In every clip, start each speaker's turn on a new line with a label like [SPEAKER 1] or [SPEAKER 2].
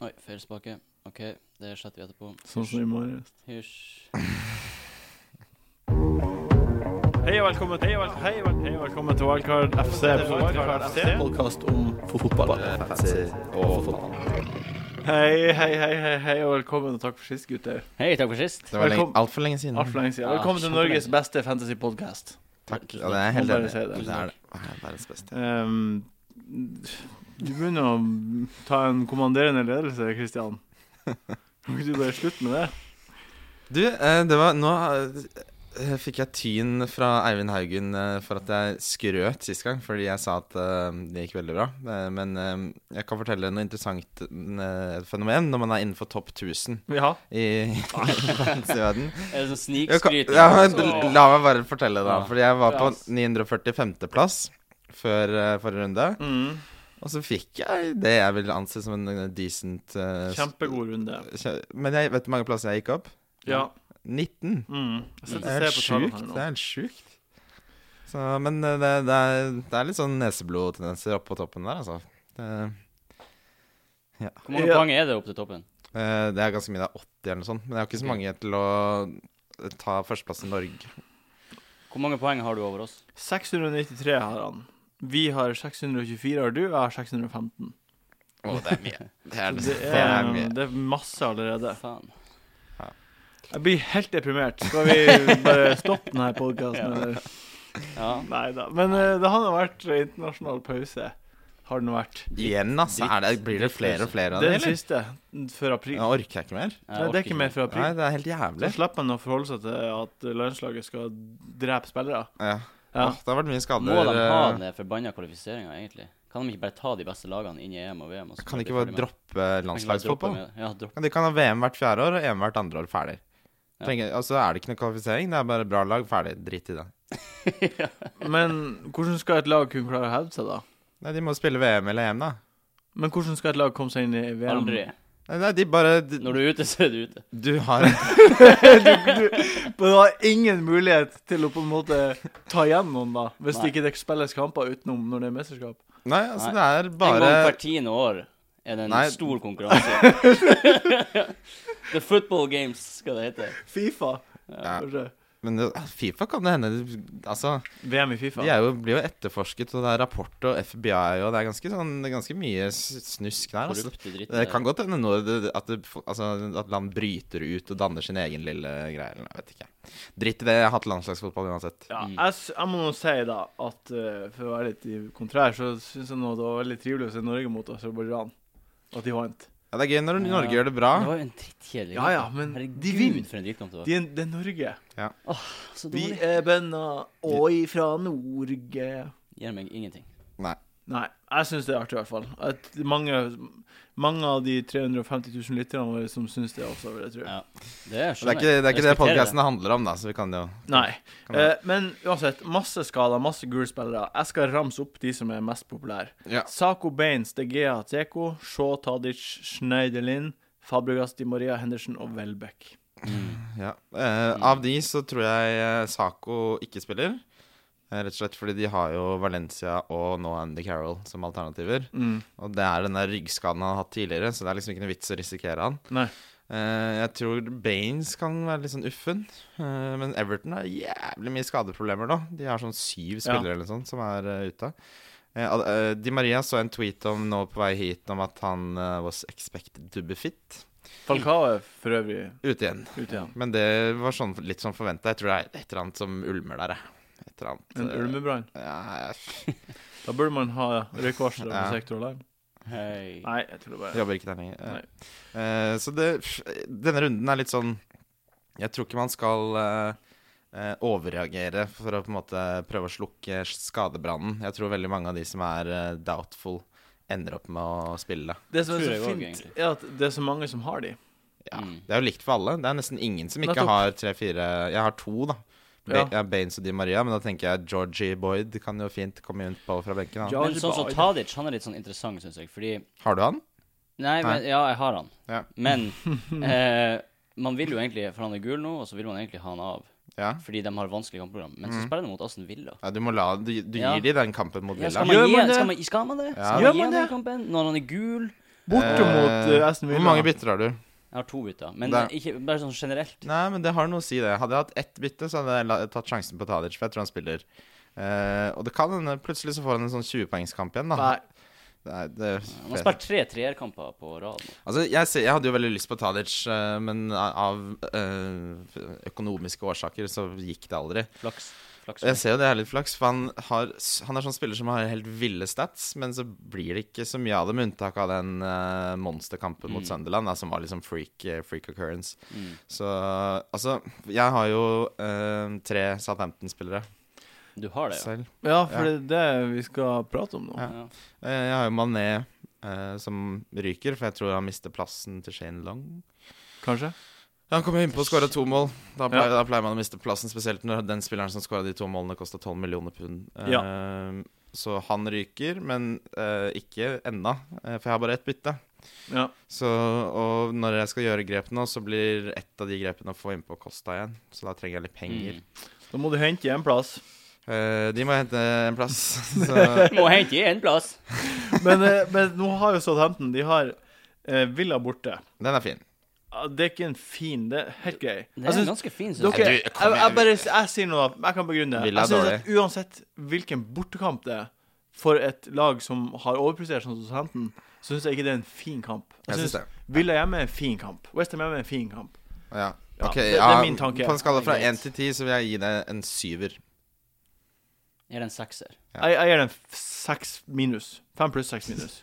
[SPEAKER 1] Oi, feil spake. Ok, det sletter vi etterpå.
[SPEAKER 2] Sånn som i morges.
[SPEAKER 1] Hysj.
[SPEAKER 3] Hei og velkommen, hei og velkommen, hei og velkommen, hei og velkommen til Wildcard FC. Wildcard FC.
[SPEAKER 2] Podkast om for fotball.
[SPEAKER 3] Hei, hei, hei, hei, hei og velkommen og takk for sist, gutter.
[SPEAKER 1] Hei, takk for sist.
[SPEAKER 4] Det var lenge,
[SPEAKER 3] Velkommen.
[SPEAKER 4] altfor lenge siden.
[SPEAKER 3] Altfor lenge siden.
[SPEAKER 1] Ja,
[SPEAKER 3] Velkommen til
[SPEAKER 1] kjempelenge.
[SPEAKER 3] Norges beste fantasy-podkast.
[SPEAKER 4] Takk. Ja, det er jeg helt
[SPEAKER 3] Må bare
[SPEAKER 4] enig.
[SPEAKER 3] si det.
[SPEAKER 4] Det er det. verdens beste.
[SPEAKER 3] Um, du begynner å ta en kommanderende ledelse, Kristian. Kan ikke du bare slutte med det?
[SPEAKER 4] Du, eh, det var Nå eh, fikk jeg tyn fra Eivind Haugen eh, for at jeg skrøt sist gang, fordi jeg sa at eh, det gikk veldig bra. Eh, Men eh, jeg kan fortelle noe interessant eh, fenomen når man er innenfor topp 1000
[SPEAKER 3] Ja.
[SPEAKER 4] i verdensverden.
[SPEAKER 1] Er det sånn
[SPEAKER 4] Jeg kan-
[SPEAKER 1] snikskryt?
[SPEAKER 4] Ja, men
[SPEAKER 1] Åh.
[SPEAKER 4] la meg bare fortelle, da.
[SPEAKER 1] Ja.
[SPEAKER 4] Fordi jeg var på
[SPEAKER 3] Ja.
[SPEAKER 4] 945. plass før eh, forrige runde.
[SPEAKER 3] Mm.
[SPEAKER 4] Og så fikk jeg det jeg vil anse som en eh, decent eh,
[SPEAKER 3] Kjempegod runde.
[SPEAKER 4] Kjæ- Men jeg vet du hvor mange plasser jeg gikk opp?
[SPEAKER 3] Ja.
[SPEAKER 4] 19.
[SPEAKER 3] Mm. Jeg
[SPEAKER 4] Det
[SPEAKER 3] sitter
[SPEAKER 4] er
[SPEAKER 3] og
[SPEAKER 4] helt
[SPEAKER 3] ser på tallene
[SPEAKER 4] sjukt.
[SPEAKER 3] her
[SPEAKER 4] Det
[SPEAKER 3] nå.
[SPEAKER 4] er helt sjukt. Så, men eh, det, det, er, det er litt sånn neseblodtendenser oppe på toppen der, altså. Det,
[SPEAKER 1] Hvor mange
[SPEAKER 3] Ja.
[SPEAKER 1] poeng er det opp til toppen?
[SPEAKER 4] eh, det er ganske mye. Det er 80 eller noe sånt. Men jeg har ikke så mange til å eh, ta førsteplass i Norge.
[SPEAKER 1] Hvor mange poeng har du over oss?
[SPEAKER 3] 693 har han. Vi har 624, har du? Jeg har 615.
[SPEAKER 4] Å, det er mye. Det er,
[SPEAKER 3] Det
[SPEAKER 4] det
[SPEAKER 3] er,
[SPEAKER 4] er mye.
[SPEAKER 3] det er masse allerede.
[SPEAKER 1] Faen.
[SPEAKER 3] Jeg blir helt deprimert. Skal vi bare stoppe denne
[SPEAKER 1] Ja.
[SPEAKER 3] podkasten? Ja.
[SPEAKER 1] Ja.
[SPEAKER 3] Nei da. Men eh, det har nå vært internasjonal pause. Har den vært.
[SPEAKER 4] Igjen, altså. Er det, blir det flere og flere av
[SPEAKER 3] Det
[SPEAKER 4] dem,
[SPEAKER 3] er den
[SPEAKER 4] eller?
[SPEAKER 3] siste før april.
[SPEAKER 4] Jeg orker jeg ikke mer.
[SPEAKER 1] jeg
[SPEAKER 3] Nei, det
[SPEAKER 1] orker
[SPEAKER 3] er ikke mer før
[SPEAKER 4] Nei,
[SPEAKER 3] april.
[SPEAKER 4] det er helt
[SPEAKER 3] Så
[SPEAKER 4] jævlig.
[SPEAKER 3] slipper man å forholde seg til at landslaget skal drepe spillere.
[SPEAKER 4] Ja.
[SPEAKER 3] Ja.
[SPEAKER 4] Åh, Det har vært mye skader.
[SPEAKER 1] Må de ha
[SPEAKER 4] eh,
[SPEAKER 1] den der forbanna kvalifiseringa, egentlig? Kan de ikke bare ta de beste lagene inn i EM og VM? Og så
[SPEAKER 4] Kan de ikke
[SPEAKER 1] bli ferdig med
[SPEAKER 4] bare
[SPEAKER 1] det? Kan ikke
[SPEAKER 4] droppe
[SPEAKER 1] bare droppe
[SPEAKER 4] landslagsfotball?
[SPEAKER 1] med det? Ja, droppe
[SPEAKER 4] Men De kan ha VM hvert fjerde år og EM hvert andre år ferdig.
[SPEAKER 1] Ja.
[SPEAKER 4] Trenger, altså er det ikke noe kvalifisering, det er bare bra lag, ferdig. Drit i det.
[SPEAKER 3] Men hvordan skal et lag kunne klare å hevde seg, da?
[SPEAKER 4] Nei, De må spille VM eller EM, da.
[SPEAKER 3] Men hvordan skal et lag komme seg inn i VM?
[SPEAKER 1] Aldri.
[SPEAKER 4] Nei, Nei, de bare de,
[SPEAKER 1] Når du er ute, så er du ute.
[SPEAKER 4] Du har
[SPEAKER 3] Men du har ingen mulighet til å på en måte ta igjen noen, da. Hvis
[SPEAKER 1] Nei.
[SPEAKER 3] det ikke spilles kamper utenom når det er mesterskap.
[SPEAKER 4] Nei, altså det er
[SPEAKER 1] En gang
[SPEAKER 4] bare
[SPEAKER 1] hvert tiende år er det en
[SPEAKER 4] Nei.
[SPEAKER 1] stor konkurranse. The Football Games skal det hete.
[SPEAKER 3] Fifa,
[SPEAKER 4] ja.
[SPEAKER 3] kanskje.
[SPEAKER 4] Men det- Fifa kan det hende de- Altså,
[SPEAKER 3] VM i Fifa.
[SPEAKER 4] de er jo, blir jo etterforsket, og det er rapport og FBI, og det er ganske, sånn, det er ganske mye s- snusk der. Altså.
[SPEAKER 1] Korrupte dritt.
[SPEAKER 4] Det kan godt hende nå det- at, det, altså, at land bryter ut og danner sin egen lille greie. eller Jeg vet ikke. Dritt i det, jeg har hatt landslagsfotball uansett.
[SPEAKER 3] Ja,
[SPEAKER 1] Mm.
[SPEAKER 3] jeg, s- jeg må nå si da at eh, for å være litt i kontrær, så syns jeg nå det var veldig trivelig å se Norge mot Aserbajdsjan. At de vant.
[SPEAKER 4] Ja, Det er gøy når
[SPEAKER 1] Ja.
[SPEAKER 4] Norge gjør det bra.
[SPEAKER 1] Det var jo en drittkjedelig
[SPEAKER 3] Ja, ja, men
[SPEAKER 1] Herregud,
[SPEAKER 3] de vinner.
[SPEAKER 1] for en drittkamp det var.
[SPEAKER 3] De er, det er Norge.
[SPEAKER 1] Så dårlig.
[SPEAKER 3] er bønder og ifra Norge.
[SPEAKER 1] Gir meg ingenting.
[SPEAKER 4] Nei.
[SPEAKER 3] Nei, jeg syns det er artig, i hvert fall. At mange, mange av de 350 000 lytterne våre som syns det også, vil jeg tro.
[SPEAKER 1] Ja, Det
[SPEAKER 4] Det er
[SPEAKER 1] skjønner
[SPEAKER 4] ikke det, er ikke det
[SPEAKER 1] Respekterer
[SPEAKER 4] podkasten handler om, da, så vi kan jo
[SPEAKER 3] Nei.
[SPEAKER 4] Kan
[SPEAKER 3] Eh, men uansett, masse skader, masse gule spillere. Jeg skal ramse opp de som er mest populære.
[SPEAKER 4] Ja.
[SPEAKER 3] Sako Baines, De Gea Teko, Shaw Tadic, Schneiderlin, Fabregas Di Maria Henderson og Welbeck.
[SPEAKER 4] ja. Eh, Av de så tror jeg eh, Saco ikke spiller. Eh, Rett og slett fordi de har jo Valencia og nå Andy Carroll som alternativer. Og det er den der ryggskaden han har hatt tidligere, så det er liksom ikke noe vits å risikere han.
[SPEAKER 3] Nei.
[SPEAKER 4] Eh, jeg tror Baines kan være litt sånn uffen. Eh, men Everton har jævlig mye skadeproblemer nå. De har sånn syv
[SPEAKER 3] Ja.
[SPEAKER 4] spillere eller noe sånt som er eh, ute. Eh, al- eh, Di Maria så en tweet om nå på vei hit om at han eh, was expected to be fit.
[SPEAKER 3] Falcao er for øvrig
[SPEAKER 4] Ute igjen.
[SPEAKER 3] ute igjen.
[SPEAKER 4] Men det var sånn, litt sånn forventa. Jeg tror det er et eller annet som ulmer der, jeg. Et eller annet
[SPEAKER 3] En
[SPEAKER 4] eh,
[SPEAKER 3] ulmebrann.
[SPEAKER 4] Ja, jeg
[SPEAKER 3] Da burde man ha røykvarsler på
[SPEAKER 4] Ja.
[SPEAKER 3] sektor alarm.
[SPEAKER 1] Hei.
[SPEAKER 3] Nei, jeg tror det bare
[SPEAKER 4] jobber ikke der lenger. Eh, eh, så det, denne runden er litt sånn Jeg tror ikke man skal eh, eh, overreagere for å på en måte prøve å slukke skadebrannen. Jeg tror veldig mange av de som er eh, doubtful, ender opp med å spille.
[SPEAKER 3] Det som er
[SPEAKER 1] Tror jeg
[SPEAKER 3] så
[SPEAKER 1] også,
[SPEAKER 3] fint,
[SPEAKER 1] egentlig.
[SPEAKER 3] er at det er så mange som har de.
[SPEAKER 4] Ja,
[SPEAKER 1] Mm.
[SPEAKER 4] Det er jo likt for alle. Det er nesten ingen som ikke
[SPEAKER 3] Nettopp.
[SPEAKER 4] har tre-fire Jeg har to, da. Ba
[SPEAKER 3] Ja.
[SPEAKER 4] ja. Baines og Di Maria, men da tenker jeg Georgie Boyd kan jo fint komme rundt på fra benken. Han.
[SPEAKER 3] Ja.
[SPEAKER 1] Men sånn som Tadic, han er litt sånn interessant, syns jeg, fordi
[SPEAKER 4] Har du han?
[SPEAKER 1] Nei, men, ja, jeg har han.
[SPEAKER 4] Ja.
[SPEAKER 1] Men eh, man vil jo egentlig For han er gul nå, og så vil man egentlig ha han av.
[SPEAKER 4] Ja.
[SPEAKER 1] Fordi de har vanskelig kampprogram. Men så spiller de mot Aston Villa.
[SPEAKER 4] ja du må la Du, du
[SPEAKER 1] Ja.
[SPEAKER 4] gir de den kampen mot
[SPEAKER 1] Ja,
[SPEAKER 4] Villa.
[SPEAKER 1] skal,
[SPEAKER 3] Gjør
[SPEAKER 1] man gi,
[SPEAKER 3] man det?
[SPEAKER 1] skal, man, skal man det?
[SPEAKER 4] Ja.
[SPEAKER 1] Skal
[SPEAKER 3] Gjør
[SPEAKER 1] man gi han
[SPEAKER 3] man
[SPEAKER 1] den
[SPEAKER 3] det?
[SPEAKER 1] kampen når han er gul?
[SPEAKER 3] Bortimot
[SPEAKER 4] Eh,
[SPEAKER 3] eh, Aston Villa.
[SPEAKER 4] Hvor mange bytter har du?
[SPEAKER 1] Jeg har to bytter. Men
[SPEAKER 4] Der.
[SPEAKER 1] ikke, bare sånn generelt.
[SPEAKER 4] Nei, men det har noe å si, det. Hadde jeg hatt ett bytte, så hadde jeg la- tatt sjansen på Tadic, for jeg tror han spiller. Eh, og det kan hende plutselig så får han en sånn 20-poengskamp igjen, da.
[SPEAKER 3] Nei.
[SPEAKER 4] Nei, det
[SPEAKER 1] Man har spilt tre treerkamper på rad. nå.
[SPEAKER 4] Altså, jeg, ser, jeg hadde jo veldig lyst på Tadic, eh, men av eh, økonomiske årsaker så gikk det aldri.
[SPEAKER 1] Flaks. Flaks.
[SPEAKER 4] Jeg ser jo det er litt flaks, for han, har, han er sånn spiller som har helt ville stats, men så blir det ikke så mye av det, med unntak av den eh, monsterkampen mot Sunderland, da, som var liksom freak, eh, freak occurrence.
[SPEAKER 1] Mm.
[SPEAKER 4] Så altså Jeg har jo eh, tre Southampton-spillere
[SPEAKER 1] Du har det, ja.
[SPEAKER 4] selv.
[SPEAKER 3] Ja, for det er det vi skal prate om nå.
[SPEAKER 4] Ja.
[SPEAKER 1] ja.
[SPEAKER 4] Eh, jeg har jo Mané eh, som ryker, for jeg tror han mister plassen til Shane Long.
[SPEAKER 3] Kanskje?
[SPEAKER 4] Ja, Han kommer innpå og skåra to mål. Da pleier,
[SPEAKER 3] Ja.
[SPEAKER 4] da pleier man å miste plassen, spesielt når den spilleren som skåra de to målene, kosta 12 millioner pund. Eh, så han ryker, men eh, ikke ennå, eh, for jeg har bare ett bytte.
[SPEAKER 3] Ja.
[SPEAKER 4] Så, og når jeg skal gjøre grep nå, så blir ett av de grepene å få innpå Kosta igjen. Så da trenger jeg litt penger.
[SPEAKER 1] Mm.
[SPEAKER 3] Da må du hente en plass.
[SPEAKER 4] Eh, de må hente en plass. Så,
[SPEAKER 1] Må hente i en plass.
[SPEAKER 3] Men, eh, men nå har jo Southampton De har eh, Villa borte.
[SPEAKER 4] den er fin.
[SPEAKER 3] Ja, Det er ikke en fin Det er helt grei.
[SPEAKER 1] Det
[SPEAKER 3] Jeg
[SPEAKER 1] er
[SPEAKER 3] synes-
[SPEAKER 1] ganske fin,
[SPEAKER 3] Altså, Dere,
[SPEAKER 1] synes jeg.
[SPEAKER 3] jeg,
[SPEAKER 4] Du, kom
[SPEAKER 3] jeg,
[SPEAKER 4] igjen.
[SPEAKER 3] bare, jeg sier noe, jeg kan begrunne det. Jeg
[SPEAKER 4] Villa er
[SPEAKER 3] synes at Uansett hvilken bortekamp det er for et lag som har overprestert sånn som Southampton, så syns jeg ikke det er en fin kamp.
[SPEAKER 4] Jeg
[SPEAKER 3] Jeg
[SPEAKER 4] syns
[SPEAKER 3] synes
[SPEAKER 4] det.
[SPEAKER 3] Villa hjemme er en fin kamp. Westham hjemme er en fin kamp.
[SPEAKER 4] Ja.
[SPEAKER 3] Ja,
[SPEAKER 4] Ok,
[SPEAKER 3] det- det er
[SPEAKER 4] ja,
[SPEAKER 3] min tanke.
[SPEAKER 4] På en skala fra
[SPEAKER 3] Greit.
[SPEAKER 4] én til ti så vil jeg gi det en syver.
[SPEAKER 1] Er det en sekser?
[SPEAKER 4] Ja.
[SPEAKER 3] Jeg, jeg gir den f- seks minus. Fem pluss seks minus.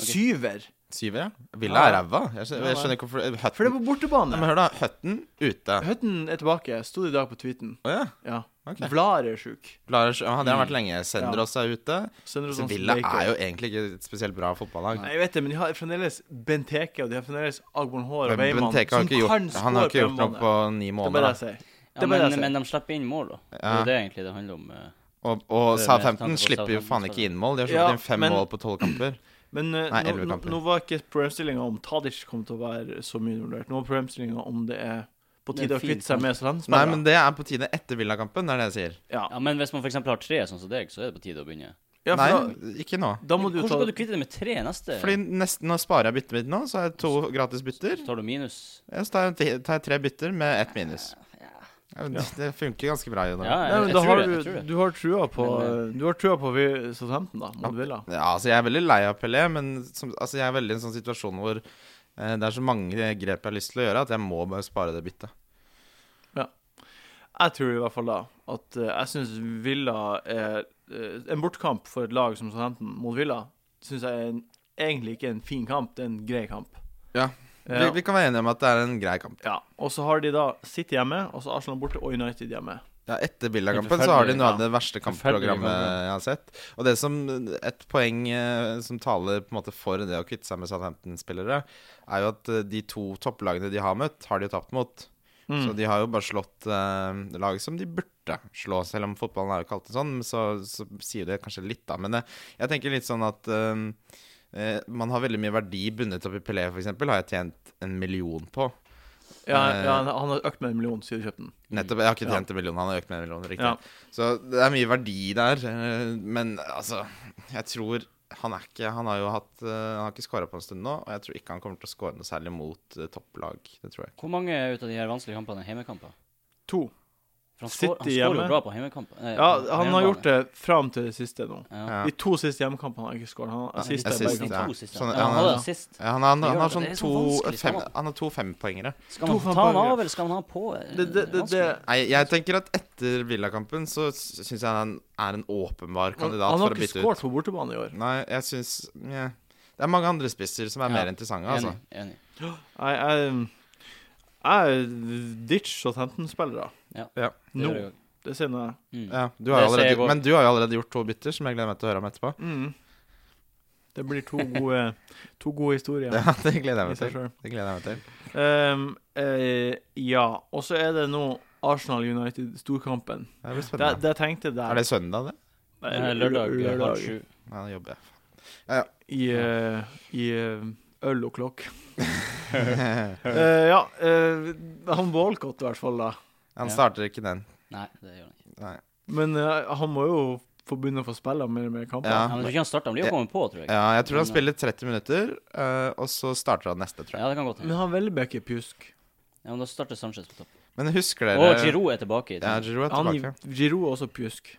[SPEAKER 3] Syver!
[SPEAKER 4] Syver, ja? Villa er
[SPEAKER 3] Ja.
[SPEAKER 4] ræva. Jeg skjønner, jeg skjønner ikke hvorfor
[SPEAKER 3] For det er
[SPEAKER 4] Hutton
[SPEAKER 3] på
[SPEAKER 4] Ja,
[SPEAKER 3] bortebane.
[SPEAKER 4] Men hør da, Hutton ute.
[SPEAKER 3] Hutton er tilbake. Sto det i dag på tweeten.
[SPEAKER 4] Å ja.
[SPEAKER 3] Ja.
[SPEAKER 4] Ok.
[SPEAKER 3] Vlar er sjuk.
[SPEAKER 4] Lars, ja, det har vært lenge. Sender
[SPEAKER 3] Ja. sånn
[SPEAKER 4] oss er ute.
[SPEAKER 3] Søndre
[SPEAKER 4] Så
[SPEAKER 3] Thomsen
[SPEAKER 4] Villa
[SPEAKER 3] Baker.
[SPEAKER 4] er jo egentlig ikke et spesielt bra fotballag.
[SPEAKER 3] Nei, jeg vet det, men de har fremdeles Benteke, og de har fremdeles Agborn Haar og
[SPEAKER 4] Men
[SPEAKER 3] Weyman,
[SPEAKER 4] Benteke har
[SPEAKER 3] som
[SPEAKER 4] ikke
[SPEAKER 3] kan
[SPEAKER 4] gjort, han
[SPEAKER 3] score
[SPEAKER 4] har ikke
[SPEAKER 3] på
[SPEAKER 4] gjort noe
[SPEAKER 3] hjemmebane.
[SPEAKER 4] på ni
[SPEAKER 3] Det er bare
[SPEAKER 4] måneder.
[SPEAKER 3] det jeg sier.
[SPEAKER 1] Ja,
[SPEAKER 3] Det må jeg
[SPEAKER 1] men,
[SPEAKER 3] si.
[SPEAKER 1] men de slipper inn mål, da. Det er
[SPEAKER 4] Ja.
[SPEAKER 1] jo det egentlig det handler om. eh.
[SPEAKER 4] Og, og
[SPEAKER 1] Det er
[SPEAKER 4] Southampton
[SPEAKER 1] med tanke på
[SPEAKER 4] slipper jo
[SPEAKER 1] Southampton,
[SPEAKER 4] faen ikke inn mål. De har
[SPEAKER 3] Ja,
[SPEAKER 4] sluppet inn fem
[SPEAKER 3] men-
[SPEAKER 4] mål på tolv kamper.
[SPEAKER 3] Men eh,
[SPEAKER 4] Nei,
[SPEAKER 3] nå,
[SPEAKER 4] elleve
[SPEAKER 3] nå,
[SPEAKER 4] kamper.
[SPEAKER 3] nå var ikke problemstillinga om Tadic kom til å være så mye involvert. Nå var problemstillinga om det er på
[SPEAKER 1] Det er
[SPEAKER 3] tide å
[SPEAKER 1] fint,
[SPEAKER 3] kvitte seg
[SPEAKER 1] men-
[SPEAKER 3] med
[SPEAKER 4] Nei,
[SPEAKER 3] Southampton-spillere.
[SPEAKER 4] men det er på tide etter Villa-kampen, det er det jeg sier.
[SPEAKER 3] Ja.
[SPEAKER 1] Ja, men hvis man for eksempel har tre, sånn som deg, så er det på tide å begynne.
[SPEAKER 3] Ja,
[SPEAKER 4] Nei,
[SPEAKER 3] for da,
[SPEAKER 4] ikke nå.
[SPEAKER 3] da må du
[SPEAKER 1] Hvordan
[SPEAKER 3] ta
[SPEAKER 1] skal du kvitte deg med tre neste?
[SPEAKER 4] Fordi nesten nå sparer jeg byttet mitt nå, så har jeg to gratis bytter.
[SPEAKER 1] Så tar du minus.
[SPEAKER 4] Ja, Så tar jeg, ti- tar jeg tre bytter med ett minus. Ja, men det- Det funker ganske bra.
[SPEAKER 1] Ja,
[SPEAKER 4] Jo, da.
[SPEAKER 1] jeg,
[SPEAKER 3] Nei,
[SPEAKER 1] jeg,
[SPEAKER 3] men da
[SPEAKER 1] tror
[SPEAKER 3] har
[SPEAKER 1] det, jeg
[SPEAKER 3] du,
[SPEAKER 1] tror det.
[SPEAKER 3] du har trua på
[SPEAKER 1] Men, eh,
[SPEAKER 3] Du har trua på vi- Southampton, da, mot Villa.
[SPEAKER 4] Ja, altså jeg er veldig lei av Pelé, men som, altså jeg er veldig i en sånn situasjon hvor eh, det er så mange grep jeg har lyst til å gjøre, at jeg må bare spare det byttet.
[SPEAKER 3] Jeg tror i hvert fall da at eh, jeg syns Villa er eh, En bortkamp for et lag som Southampton mot Villa syns jeg er en, egentlig ikke en fin kamp, det er en grei kamp.
[SPEAKER 4] Ja. Vi,
[SPEAKER 3] Ja.
[SPEAKER 4] vi kan være enige om at det er en grei kamp.
[SPEAKER 3] Ja. Og så har de da City hjemme, og så Arsenal borte og United hjemme.
[SPEAKER 4] Ja, Etter Villa-kampen så har de noe av det verste
[SPEAKER 1] Forferdelig kamp,
[SPEAKER 4] kampprogrammet jeg har sett. Og det som et poeng eh, som taler på en måte for det å kvitte seg med Southampton-spillere, er jo at eh, de to topplagene de har møtt, har de jo tapt mot. Så de har jo bare slått eh, lag som de burde slå, selv om fotballen er jo ikke alltid sånn. Så, så sier det kanskje litt, da. Men eh, jeg tenker litt sånn at eh, eh, man har veldig mye verdi bundet opp i Pelé, f.eks. Har jeg tjent en million på.
[SPEAKER 3] Ja,
[SPEAKER 4] Eh.
[SPEAKER 3] ja, han har økt med en million siden du kjøpte den.
[SPEAKER 4] Nettopp. Jeg har ikke
[SPEAKER 3] Ja.
[SPEAKER 4] tjent en million, han har økt med en million. Riktig.
[SPEAKER 3] Ja.
[SPEAKER 4] Så det er mye verdi der. eh, Men altså, jeg tror han er ikke Han har jo hatt eh, Han har ikke skåra på en stund nå, og jeg tror ikke han kommer til å skåre noe særlig mot eh, topplag. Det tror jeg ikke.
[SPEAKER 1] Hvor mange ut av de her vanskelige kampene er hjemmekamper?
[SPEAKER 3] To.
[SPEAKER 1] For han skår- han
[SPEAKER 3] City
[SPEAKER 1] skårer
[SPEAKER 3] hjemme.
[SPEAKER 1] jo bra på hjemmekamper. eh,
[SPEAKER 3] Ja,
[SPEAKER 1] på
[SPEAKER 3] han har
[SPEAKER 1] hjemmebane.
[SPEAKER 3] gjort det fram til det siste nå.
[SPEAKER 1] Ja.
[SPEAKER 4] Ja.
[SPEAKER 3] De to siste hjemmekampene har han ikke skåret. Han har assist
[SPEAKER 1] Ja,
[SPEAKER 3] der
[SPEAKER 1] de-
[SPEAKER 3] begge
[SPEAKER 4] Assist,
[SPEAKER 1] de
[SPEAKER 3] kamper.
[SPEAKER 4] ja.
[SPEAKER 1] to siste.
[SPEAKER 4] Sånn,
[SPEAKER 1] Ja,
[SPEAKER 4] ja,
[SPEAKER 1] han
[SPEAKER 4] han-
[SPEAKER 1] hadde assist.
[SPEAKER 4] Ja, han, han,
[SPEAKER 1] Det gjør
[SPEAKER 4] han, har
[SPEAKER 1] det.
[SPEAKER 4] sånn
[SPEAKER 1] Det er så
[SPEAKER 4] to,
[SPEAKER 1] vanskelig,
[SPEAKER 4] fem,
[SPEAKER 1] Stavanger.
[SPEAKER 4] han har to fempoengere.
[SPEAKER 1] Skal man
[SPEAKER 3] To
[SPEAKER 1] ta han
[SPEAKER 3] fem-
[SPEAKER 1] av, eller skal man ha han på? eh,
[SPEAKER 3] Det, det, det, det,
[SPEAKER 4] Nei, jeg tenker at etter Villa-kampen så syns jeg han er en åpenbar
[SPEAKER 3] han,
[SPEAKER 4] kandidat
[SPEAKER 3] han har
[SPEAKER 4] for å
[SPEAKER 3] ikke
[SPEAKER 4] bytte ut.
[SPEAKER 3] skåret på bortebane i år.
[SPEAKER 4] Nei, jeg syns nja. Det er mange andre spisser som er
[SPEAKER 1] Ja.
[SPEAKER 4] mer interessante, altså.
[SPEAKER 1] Enig. enig.
[SPEAKER 3] Jeg, jeg, jeg ditch Southampton-spillere.
[SPEAKER 4] Ja.
[SPEAKER 1] Det
[SPEAKER 3] Nå.
[SPEAKER 1] gjør jeg også.
[SPEAKER 3] Det sier jeg.
[SPEAKER 1] Mm.
[SPEAKER 4] Ja, du har
[SPEAKER 1] Det
[SPEAKER 4] jo
[SPEAKER 1] ser jeg
[SPEAKER 4] allerede,
[SPEAKER 1] godt.
[SPEAKER 4] men du har jo allerede gjort to bytter, som jeg gleder meg til å høre om etterpå.
[SPEAKER 3] Mm. Det blir to gode, to gode historier.
[SPEAKER 4] Ja, det gleder jeg
[SPEAKER 3] i
[SPEAKER 4] meg
[SPEAKER 3] seg
[SPEAKER 4] til.
[SPEAKER 3] selv.
[SPEAKER 4] Det gleder jeg meg til.
[SPEAKER 3] Ehm, eh, ja. Og så er det nå Arsenal United-storkampen.
[SPEAKER 4] Det blir
[SPEAKER 3] Det,
[SPEAKER 4] spennende.
[SPEAKER 3] det jeg tenkte der
[SPEAKER 4] er det søndag, det?
[SPEAKER 1] Eh, Lørdag halv sju.
[SPEAKER 4] Ja, da jobber jeg.
[SPEAKER 3] I, eh, i eh, øl og klokk. Eh, ja. eh, han Walcott, i hvert fall, da.
[SPEAKER 4] Han
[SPEAKER 1] Ja.
[SPEAKER 4] starter ikke den.
[SPEAKER 1] Nei, det gjør han ikke.
[SPEAKER 4] Nei.
[SPEAKER 3] Men eh, han må jo får begynne å få spille mer og mer kamper.
[SPEAKER 4] Ja.
[SPEAKER 1] Nei, men jeg tror ikke han starter. Han blir jo kommet på, tror jeg.
[SPEAKER 4] Ja, jeg
[SPEAKER 3] eh,
[SPEAKER 4] tror han spiller 30 minutter, eh, og så starter han neste, tror jeg.
[SPEAKER 1] Ja, det kan godt hende.
[SPEAKER 3] Men han Welbeck er pjusk.
[SPEAKER 1] Ja, men da starter Sanchez på topp.
[SPEAKER 4] Men husker
[SPEAKER 1] Og
[SPEAKER 4] dere
[SPEAKER 1] Giroud er tilbake. i
[SPEAKER 4] Ja,
[SPEAKER 1] team.
[SPEAKER 4] Giroud er
[SPEAKER 3] Han i
[SPEAKER 4] tilbake.
[SPEAKER 3] Giroud er også pjusk.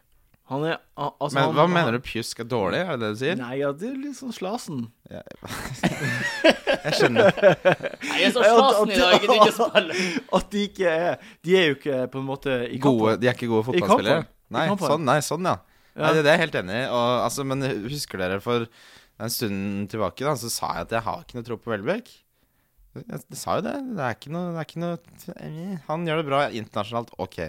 [SPEAKER 3] Han er han- altså,
[SPEAKER 4] Men
[SPEAKER 3] han,
[SPEAKER 4] hva mener du pjusk er dårlig? Er det det du sier?
[SPEAKER 3] Nei, ja, det er litt sånn slasen.
[SPEAKER 4] Jeg skjønner.
[SPEAKER 1] Nei, jeg er så
[SPEAKER 3] Ja, at-
[SPEAKER 1] slasen i dag, jeg gidder ikke spille.
[SPEAKER 3] At de ikke er De er jo ikke på en måte i
[SPEAKER 4] Gode,
[SPEAKER 3] kampen.
[SPEAKER 4] de er ikke gode
[SPEAKER 3] I
[SPEAKER 4] fotballspillere?
[SPEAKER 3] kampen. I
[SPEAKER 4] Nei,
[SPEAKER 3] kampen.
[SPEAKER 4] sånn, nei, sånn ja.
[SPEAKER 3] Ja.
[SPEAKER 4] Nei, det, det er jeg helt enig i. Og, altså, men husker dere for en stund tilbake, da, så sa jeg at jeg har ikke noe tro på Welbeck. Jeg, jeg sa jo det. Det er ikke noe, det er ikke noe Han gjør det bra internasjonalt, OK.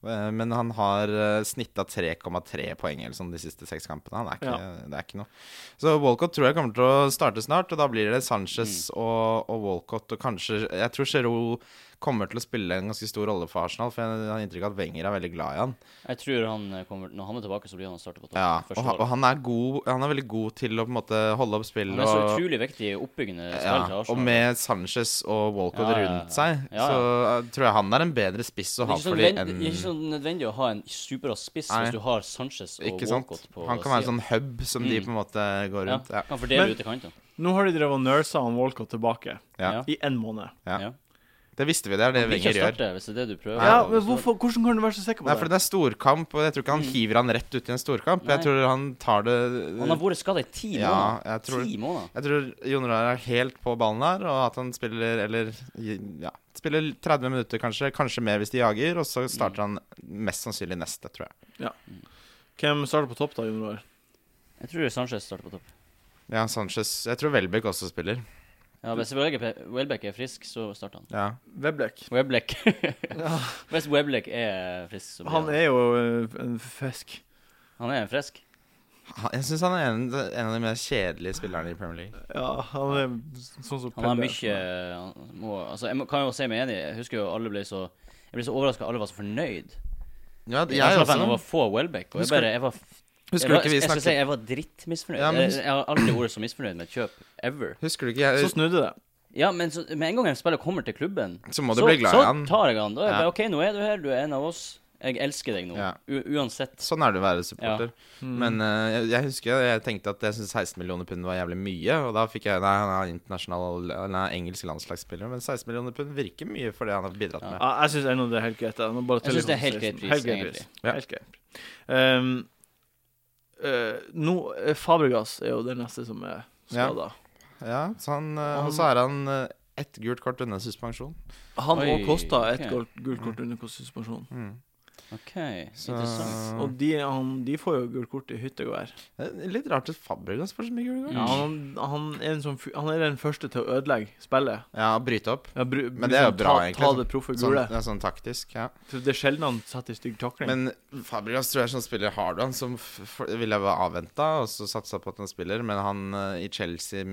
[SPEAKER 4] Eh, Men han har eh, snitta 3,3 poeng eller sånn de siste seks kampene. Han er ikke, Det er ikke noe. Så Walcott tror jeg kommer til å starte snart, og da blir det Sanchez og, og Walcott og kanskje Jeg tror Giroud kommer til å spille en ganske stor rolle for Arsenal, for jeg har inntrykk av at Wenger er veldig glad i han.
[SPEAKER 1] Jeg tror han eh, kommer Når han er tilbake, så blir han starter på topp.
[SPEAKER 4] Ja, og,
[SPEAKER 1] første
[SPEAKER 4] han, og
[SPEAKER 1] året.
[SPEAKER 4] han er god Han er veldig god til å på en måte holde opp spill
[SPEAKER 1] Han er så
[SPEAKER 4] og,
[SPEAKER 1] utrolig viktig i oppbyggende
[SPEAKER 4] ja,
[SPEAKER 1] spill til
[SPEAKER 4] og
[SPEAKER 1] Arsenal.
[SPEAKER 4] med Sanchez og Walcott
[SPEAKER 1] Ja, ja, ja.
[SPEAKER 4] rundt seg,
[SPEAKER 1] Ja, ja.
[SPEAKER 4] så eh, tror jeg han er en bedre spiss å
[SPEAKER 1] det er
[SPEAKER 4] ha
[SPEAKER 1] ikke, sånn
[SPEAKER 4] for de
[SPEAKER 1] nødvendig-
[SPEAKER 4] enn
[SPEAKER 1] det er ikke sånn nødvendig å ha en superrask spiss
[SPEAKER 4] Nei.
[SPEAKER 1] hvis du har Sanchez og
[SPEAKER 4] Ikke sant?
[SPEAKER 1] Walcott på
[SPEAKER 4] Han kan være en
[SPEAKER 1] siden. Mm.
[SPEAKER 4] sånn hub som de på en måte går
[SPEAKER 1] ja,
[SPEAKER 4] rundt. Ja.
[SPEAKER 1] Kan fordele
[SPEAKER 3] Men-
[SPEAKER 1] ut til kantene.
[SPEAKER 3] Nå har de drevet og nursa han Walcott tilbake
[SPEAKER 4] Ja.
[SPEAKER 1] Ja.
[SPEAKER 3] i én måned.
[SPEAKER 4] Ja.
[SPEAKER 1] Ja.
[SPEAKER 4] Det visste vi, det er det
[SPEAKER 1] Han blir ikke å
[SPEAKER 4] Wenger gjør.
[SPEAKER 1] starte hvis det er det du prøver.
[SPEAKER 3] Ja,
[SPEAKER 1] Og
[SPEAKER 3] men
[SPEAKER 1] så-
[SPEAKER 3] hvorfor, Hvordan kan du være så sikker på
[SPEAKER 4] Nei, for
[SPEAKER 3] det?
[SPEAKER 4] det er storkamp, og jeg tror ikke han hiver han rett ut i en storkamp. Jeg
[SPEAKER 1] Mm. Nei.
[SPEAKER 4] tror han tar det
[SPEAKER 1] Han har vært skada i ti
[SPEAKER 4] Ja,
[SPEAKER 1] måneder.
[SPEAKER 4] jeg tror-
[SPEAKER 1] Ti måneder.
[SPEAKER 4] Jeg tror Jon Roar er helt på ballen her, og at han spiller eller ja, spiller 30 minutter kanskje, kanskje mer hvis de jager, og så
[SPEAKER 1] Mm.
[SPEAKER 4] starter han mest sannsynlig neste, tror jeg.
[SPEAKER 3] Hvem starter på topp, da, Jon Roar?
[SPEAKER 1] Jeg tror Sanchez starter på topp.
[SPEAKER 4] Ja, Sanchez Jeg tror Welbeck også spiller.
[SPEAKER 1] Ja, Hvis Welbeck- Welbeck er frisk, så starter han.
[SPEAKER 4] Ja.
[SPEAKER 3] Weblek.
[SPEAKER 1] Weblek. Hvis Weblek er frisk, så blir
[SPEAKER 3] Han er jo eh, en fisk.
[SPEAKER 1] han er frisk.
[SPEAKER 4] Han- Jeg syns han er en, en av de mer kjedelige spillerne i Premier League.
[SPEAKER 3] Ja, han er sånn som
[SPEAKER 1] Han har
[SPEAKER 3] Pelle.
[SPEAKER 1] mye han må, altså, Jeg må- kan jo si meg enig. Jeg husker jo alle ble så Jeg ble så overraska alle var så fornøyd.
[SPEAKER 4] Ja,
[SPEAKER 1] Jeg, jeg også. Over få Welbeck, og jeg bare jeg var, jeg,
[SPEAKER 4] Husker du
[SPEAKER 1] var,
[SPEAKER 4] ikke vi
[SPEAKER 1] jeg, skal si
[SPEAKER 4] snakket
[SPEAKER 1] jeg var drittmisfornøyd.
[SPEAKER 4] Ja, men
[SPEAKER 1] jeg,
[SPEAKER 4] hus-
[SPEAKER 1] jeg har aldri vært så misfornøyd med et kjøp. Ever.
[SPEAKER 4] Husker du ikke jeg,
[SPEAKER 3] Så snudde det.
[SPEAKER 1] Ja, men så, med en gang en spiller kommer til klubben,
[SPEAKER 4] Så må du
[SPEAKER 1] så,
[SPEAKER 4] bli glad i
[SPEAKER 1] så
[SPEAKER 4] han.
[SPEAKER 1] tar jeg han. Da er jeg
[SPEAKER 4] Ja.
[SPEAKER 1] bare OK, nå er du her, du er en av oss. Jeg elsker deg nå.
[SPEAKER 4] Ja.
[SPEAKER 1] U uansett.
[SPEAKER 4] Sånn er det å være supporter.
[SPEAKER 3] Mm.
[SPEAKER 4] Men eh, jeg, jeg husker jeg tenkte at jeg syntes 16 millioner pund var jævlig mye. Og da fikk jeg Nei, han er internasjonal Han er engelsk landslagsspiller, men 16 millioner pund virker mye for det han har bidratt med.
[SPEAKER 3] ja, jeg syns ennå det er helt greit. Jeg, Nå bare
[SPEAKER 1] Jeg synes det er helt greit
[SPEAKER 3] teller
[SPEAKER 1] pris,
[SPEAKER 3] Helt greit
[SPEAKER 1] egentlig.
[SPEAKER 3] pris.
[SPEAKER 4] Ja.
[SPEAKER 3] Helt greit. Ehm, eh, nå, eh, Fabregas er jo den neste som er skada.
[SPEAKER 4] Ja, så han, eh,
[SPEAKER 3] Han-
[SPEAKER 4] og så er han eh, ett gult kort unna suspensjon.
[SPEAKER 3] Han
[SPEAKER 1] Oi,
[SPEAKER 3] òg kosta et
[SPEAKER 1] ok.
[SPEAKER 3] gult, gult kort under suspensjon.
[SPEAKER 4] Mm.
[SPEAKER 1] OK,
[SPEAKER 4] Så-
[SPEAKER 1] interessant.
[SPEAKER 4] Mm.
[SPEAKER 3] Og de, han, de får jo gult kort i hytte og vær.
[SPEAKER 4] Det er Eh, Litt rart at Fabregas får så mye gule kort.
[SPEAKER 3] Ja, han, han, er en sånn, fyr- han er den første til å ødelegge spillet.
[SPEAKER 4] Ja, bryte opp.
[SPEAKER 3] Ja, bru,
[SPEAKER 4] Men det er jo
[SPEAKER 3] liksom,
[SPEAKER 4] bra,
[SPEAKER 3] ta,
[SPEAKER 4] egentlig,
[SPEAKER 3] Ta
[SPEAKER 4] sånn-
[SPEAKER 3] det proffe
[SPEAKER 4] Sånn,
[SPEAKER 3] gule.
[SPEAKER 4] ja, sånn taktisk, ja.
[SPEAKER 3] For Det er sjelden han setter stygg takling.
[SPEAKER 4] Men Fabregas tror jeg er sånn spiller Hardon, som f f ville jeg være avventa, og så satsa på at han spiller, men han eh, i Chelsea eh,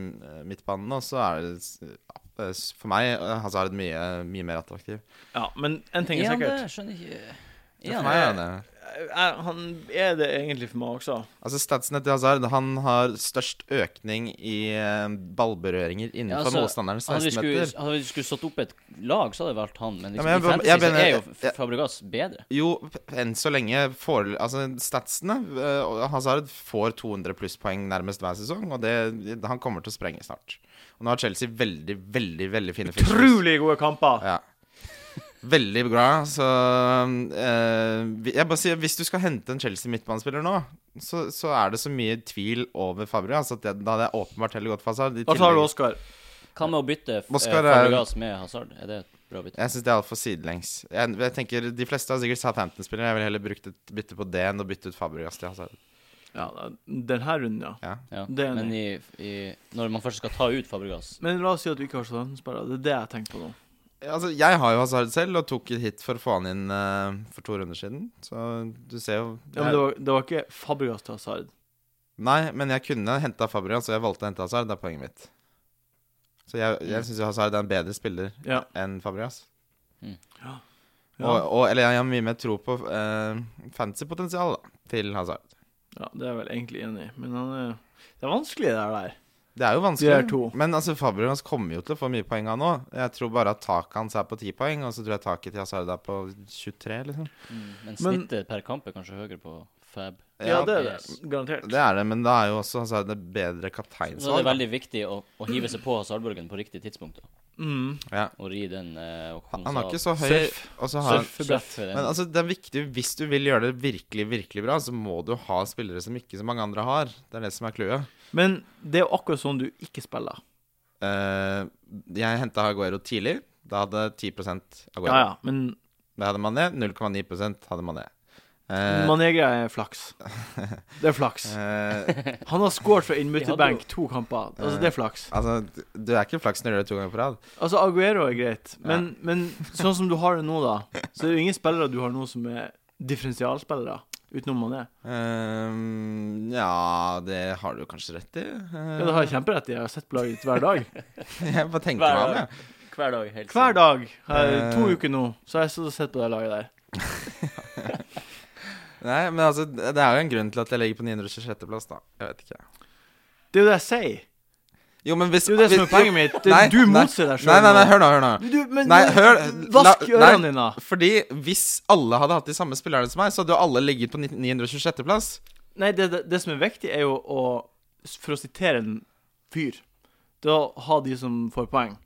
[SPEAKER 4] midtbanen nå, så er det s- eh, s- for meg eh, Hazard mye, mye mer attraktiv.
[SPEAKER 3] ja, men én ting er
[SPEAKER 1] Er han det?
[SPEAKER 3] sikkert.
[SPEAKER 1] Jeg Skjønner ikke. Er
[SPEAKER 4] Ja,
[SPEAKER 1] han
[SPEAKER 4] for meg er han det.
[SPEAKER 3] Er, han er det egentlig for meg også.
[SPEAKER 4] Altså Statsene til Hazard han har størst økning i eh, ballberøringer
[SPEAKER 1] Ja,
[SPEAKER 4] innenfor
[SPEAKER 1] altså,
[SPEAKER 4] motstanderens
[SPEAKER 1] Hadde vi
[SPEAKER 4] 16
[SPEAKER 1] skulle,
[SPEAKER 4] meter.
[SPEAKER 1] hadde vi skulle satt opp et lag, så hadde jeg valgt han. Men,
[SPEAKER 4] Ja,
[SPEAKER 1] liksom,
[SPEAKER 4] men jeg-
[SPEAKER 1] i fantasy
[SPEAKER 4] jeg
[SPEAKER 1] så
[SPEAKER 4] mener-
[SPEAKER 1] er jo
[SPEAKER 4] jeg-
[SPEAKER 1] F- Fabregas bedre.
[SPEAKER 4] Jo, enn så lenge får, altså, Statsene eh, og Hazard får 200 plusspoeng nærmest hver sesong, og det, han kommer til å sprenge snart. Og nå har Chelsea veldig, veldig veldig fine fixtures.
[SPEAKER 3] Utrolig gode kamper!
[SPEAKER 4] Ja. Veldig bra. Så eh, vi- Jeg bare sier, hvis du skal hente en Chelsea midtbanespiller nå, så, så er det så mye tvil over Fabregas at det, da hadde jeg åpenbart heller gått for Hazard. I
[SPEAKER 3] Da tar du
[SPEAKER 4] tillegg-
[SPEAKER 3] Oskar.
[SPEAKER 1] Hva med å bytte F-
[SPEAKER 4] Oscar
[SPEAKER 1] eh,
[SPEAKER 4] er-
[SPEAKER 1] Fabregas med Hazard? Er det et bra bytte?
[SPEAKER 4] Jeg syns det er altfor sidelengs. Jeg, jeg tenker, De fleste har sikkert Southampton-spillere. Jeg ville heller brukt et bytte på det enn å bytte ut Fabregas til Hazard.
[SPEAKER 3] Ja, den her runden, ja.
[SPEAKER 4] Ja.
[SPEAKER 1] Ja.
[SPEAKER 3] Det er
[SPEAKER 1] Men i, i, når man først skal ta ut Fabregas
[SPEAKER 3] Men la oss si at du ikke har Southampton-spillere. Det er det jeg tenker på nå.
[SPEAKER 4] Altså, jeg har jo Hazard selv, og tok et hit for å få han inn eh, for to runder siden. Så du ser jo
[SPEAKER 3] Ja, men det, var, det var ikke Fabregas til Hazard.
[SPEAKER 4] Nei, men jeg kunne henta Fabregas, og jeg valgte å hente Hazard. Det er poenget mitt. Så jeg, jeg syns Hazard er en bedre spiller
[SPEAKER 3] Ja.
[SPEAKER 4] enn Fabregas.
[SPEAKER 3] Ja,
[SPEAKER 4] Og, og, eller jeg har mye mer tro på uh, fancy potensial da, til Hazard.
[SPEAKER 3] ja, det er jeg vel egentlig enig i. Men han er Det er vanskelig, det her der.
[SPEAKER 4] Det er jo vanskelig.
[SPEAKER 3] De er to.
[SPEAKER 4] Men altså, Fabregas kommer jo til å få mye poeng av nå. Jeg tror bare at taket hans er på 10 poeng, og så tror jeg taket til Hazard er på 23, liksom.
[SPEAKER 1] Men
[SPEAKER 3] Men-
[SPEAKER 1] snittet per kamp er kanskje høyere på Fab
[SPEAKER 3] Ja, det er det.
[SPEAKER 1] yes.
[SPEAKER 3] Garantert.
[SPEAKER 4] Det er det, men da er jo også Hazard det bedre
[SPEAKER 1] Så det
[SPEAKER 4] kapteinsvalg.
[SPEAKER 1] er
[SPEAKER 4] da.
[SPEAKER 1] veldig viktig å, å hive seg på Salbørgen på riktig tidspunkt. da.
[SPEAKER 3] Mm.
[SPEAKER 4] Ja.
[SPEAKER 1] Og ri den eh, og komme
[SPEAKER 4] Han har
[SPEAKER 1] seg
[SPEAKER 4] ikke
[SPEAKER 1] av.
[SPEAKER 4] så høy
[SPEAKER 3] Surf.
[SPEAKER 4] og så har han-
[SPEAKER 3] Surfebrett.
[SPEAKER 1] Surfe den.
[SPEAKER 4] Men altså, det er viktig, hvis du vil gjøre det virkelig, virkelig bra, så må du ha spillere som ikke så mange andre har. Det er det som er clouet.
[SPEAKER 3] Men det er jo akkurat sånn du ikke spiller.
[SPEAKER 4] Eh, jeg henta Aguero tidlig. Da hadde 10 Aguero.
[SPEAKER 3] Ja, ja, men
[SPEAKER 4] Da hadde Mané 0,9 hadde Mané. Eh,
[SPEAKER 3] Manega er flaks. Det er flaks.
[SPEAKER 4] eh,
[SPEAKER 3] Han har skåret fra
[SPEAKER 1] De hadde
[SPEAKER 3] innbytterbenk to kamper. Altså, det er flaks.
[SPEAKER 4] altså, du er ikke flaks når du gjør det to ganger på rad.
[SPEAKER 3] Altså, Aguero er greit, men, men sånn som du har det nå, da, så er det jo ingen spillere du har nå som er differensialspillere, utenom Mané.
[SPEAKER 4] Eh, ja, det har du kanskje rett i. Eh,
[SPEAKER 3] Ja, det har jeg kjemperett i. Jeg har sett på laget ditt hver dag.
[SPEAKER 4] jeg bare tenker
[SPEAKER 1] Hver
[SPEAKER 4] meg om,
[SPEAKER 1] dag.
[SPEAKER 4] jeg.
[SPEAKER 1] Hver dag. Helt
[SPEAKER 3] Hver dag.
[SPEAKER 4] Eh.
[SPEAKER 3] Her, to uker nå, så har jeg stått og sett på det laget der.
[SPEAKER 4] Nei, men altså, det det er jo en grunn til at jeg ligger på 926.-plass, da. Jeg vet ikke.
[SPEAKER 3] Det er jo det jeg sier.
[SPEAKER 4] Jo, men hvis
[SPEAKER 3] Det er jo det som er
[SPEAKER 4] hvis-
[SPEAKER 3] poenget mitt. Det er
[SPEAKER 4] Nei,
[SPEAKER 3] du
[SPEAKER 4] nei.
[SPEAKER 3] motser deg
[SPEAKER 4] Nei,
[SPEAKER 3] sjøl.
[SPEAKER 4] nei, nei, hør nå, hør nå.
[SPEAKER 3] Du, men
[SPEAKER 4] Nei,
[SPEAKER 3] du-
[SPEAKER 4] hør-
[SPEAKER 3] Vask
[SPEAKER 4] la- nei.
[SPEAKER 3] ørene dine.
[SPEAKER 4] Fordi hvis alle hadde hatt de samme spillerne som meg, så hadde jo alle ligget på 926.-plass.
[SPEAKER 3] Nei, det, det, det som er viktig, er jo å For å sitere en fyr Det er å ha de som får poeng.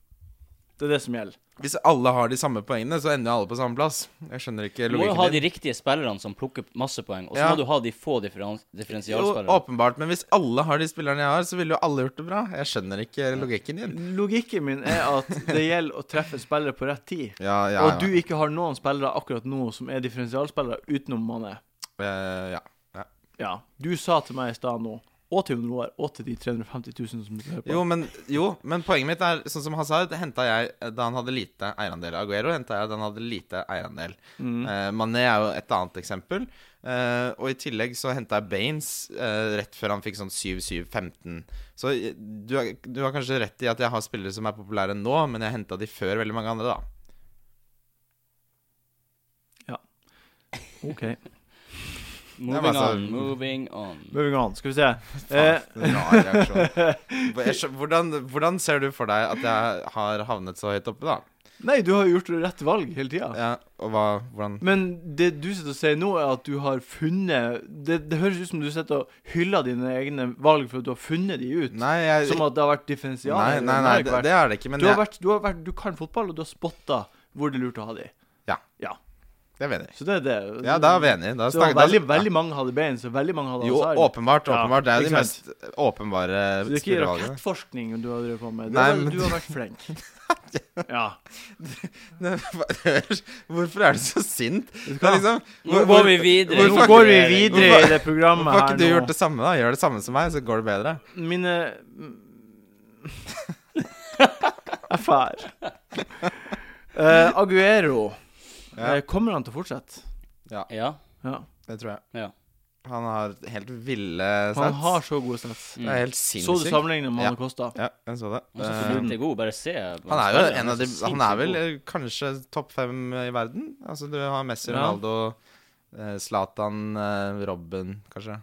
[SPEAKER 3] Det er det som gjelder.
[SPEAKER 4] Hvis alle har de samme poengene, så ender jo alle på samme plass. Jeg skjønner ikke
[SPEAKER 1] Du må jo ha
[SPEAKER 4] logikken
[SPEAKER 1] de
[SPEAKER 4] din.
[SPEAKER 1] riktige spillerne som plukker masse poeng, og så
[SPEAKER 4] Ja.
[SPEAKER 1] må du ha de få differen
[SPEAKER 4] Jo,
[SPEAKER 1] differensialspillerne.
[SPEAKER 4] åpenbart, men hvis alle har de spillerne jeg har, så ville jo alle gjort det bra. Jeg skjønner ikke logikken din.
[SPEAKER 3] Logikken min er at det gjelder å treffe spillere på rett tid.
[SPEAKER 4] Ja, ja,
[SPEAKER 3] Og at du ikke har noen spillere akkurat nå som er differensialspillere utenom Mané.
[SPEAKER 4] Eh, ja.
[SPEAKER 3] Ja. Du sa til meg i stad nå, og til Jon Roar, og til de 350 000 som hører på
[SPEAKER 4] Jo, men, jo, men poenget mitt er sånn som Hazard henta jeg eh, da han hadde lite eierandel. Aguero henta jeg da han hadde lite eierandel.
[SPEAKER 3] Mm.
[SPEAKER 4] Eh, Mané er jo et annet eksempel. Eh, og i tillegg så henta jeg Baines eh, rett før han fikk sånn 7-7-15. Så eh, du, har- du har kanskje rett i at jeg har spillere som er populære nå, men jeg henta de før veldig mange andre, da.
[SPEAKER 3] OK.
[SPEAKER 1] Moving
[SPEAKER 4] Ja, men altså-
[SPEAKER 1] on, moving on.
[SPEAKER 3] Moving on. Skal vi se. Eh,
[SPEAKER 4] Faen, rar reaksjon. Jeg skjø- Hvordan, hvordan ser du for deg at jeg har havnet så høyt oppe, da?
[SPEAKER 3] nei, du har jo gjort rett valg hele tida.
[SPEAKER 4] Ja, og hva, hvordan
[SPEAKER 3] Men det du sitter og sier nå, er at du har funnet Det, det høres ut som du sitter og hyller dine egne valg for at du har funnet de ut.
[SPEAKER 4] Nei, jeg
[SPEAKER 3] Som at det har vært differensial.
[SPEAKER 4] Nei,
[SPEAKER 3] eller det
[SPEAKER 4] nei, nei
[SPEAKER 3] har ikke
[SPEAKER 4] det,
[SPEAKER 3] vært.
[SPEAKER 4] det er det ikke. Men
[SPEAKER 3] du, har
[SPEAKER 4] jeg,
[SPEAKER 3] vært, du, har vært, du kan fotball, og du har spotta hvor det er lurt å ha de.
[SPEAKER 4] det er vi enig i.
[SPEAKER 3] Så det er det.
[SPEAKER 4] Ja, da er vi enige. Da
[SPEAKER 3] Så
[SPEAKER 4] snakker- da-
[SPEAKER 3] veldig, veldig mange hadde bein, så veldig mange hadde
[SPEAKER 4] Jo,
[SPEAKER 3] hazard.
[SPEAKER 4] åpenbart.
[SPEAKER 3] altså? Ja,
[SPEAKER 4] åpenbart Det er jo de
[SPEAKER 3] ikke
[SPEAKER 4] mest
[SPEAKER 3] sant?
[SPEAKER 4] åpenbare
[SPEAKER 3] Så det er ikke
[SPEAKER 4] spillevalgene.
[SPEAKER 3] rakettforskning du har drevet på med. Det
[SPEAKER 4] Nei,
[SPEAKER 3] er bare-
[SPEAKER 4] men-
[SPEAKER 3] Du har vært flink. Ja.
[SPEAKER 4] Nei, hva- Hvorfor er du så sint?
[SPEAKER 3] Vet du
[SPEAKER 4] Det er
[SPEAKER 3] hva?
[SPEAKER 4] liksom
[SPEAKER 1] Nå
[SPEAKER 4] hvor-
[SPEAKER 1] går vi
[SPEAKER 4] hvor-
[SPEAKER 1] videre.
[SPEAKER 4] hvorfor
[SPEAKER 3] Nå
[SPEAKER 4] har
[SPEAKER 3] går vi
[SPEAKER 1] ikke-
[SPEAKER 3] videre i det programmet
[SPEAKER 4] Hvorfor har
[SPEAKER 3] her
[SPEAKER 4] ikke du gjort
[SPEAKER 3] nå.
[SPEAKER 4] det samme, da? Gjør det samme som meg, så går det bedre.
[SPEAKER 3] Mine Jeg fær. Eh, Aguero.
[SPEAKER 4] Ja.
[SPEAKER 3] Eh, kommer han til å fortsette?
[SPEAKER 1] Ja.
[SPEAKER 3] Ja.
[SPEAKER 4] Det tror jeg.
[SPEAKER 1] Ja.
[SPEAKER 4] Han har helt ville
[SPEAKER 3] Han
[SPEAKER 4] sats.
[SPEAKER 3] har så gode stats.
[SPEAKER 4] Det er
[SPEAKER 1] Mm.
[SPEAKER 4] helt sinnssykt.
[SPEAKER 3] Så du sammenlignet med
[SPEAKER 4] Ja.
[SPEAKER 3] han Costa?
[SPEAKER 4] Ja, jeg så det.
[SPEAKER 1] Han er så
[SPEAKER 4] Eh,
[SPEAKER 1] flink til god, bare se.
[SPEAKER 4] han er jo
[SPEAKER 1] spiller,
[SPEAKER 4] en av de
[SPEAKER 1] så
[SPEAKER 4] Han er vel
[SPEAKER 1] sinnssykt
[SPEAKER 4] eh, kanskje topp fem i verden. Altså, du har Messi,
[SPEAKER 3] Ja.
[SPEAKER 4] Ronaldo, eh, Zlatan, eh, Robben, kanskje.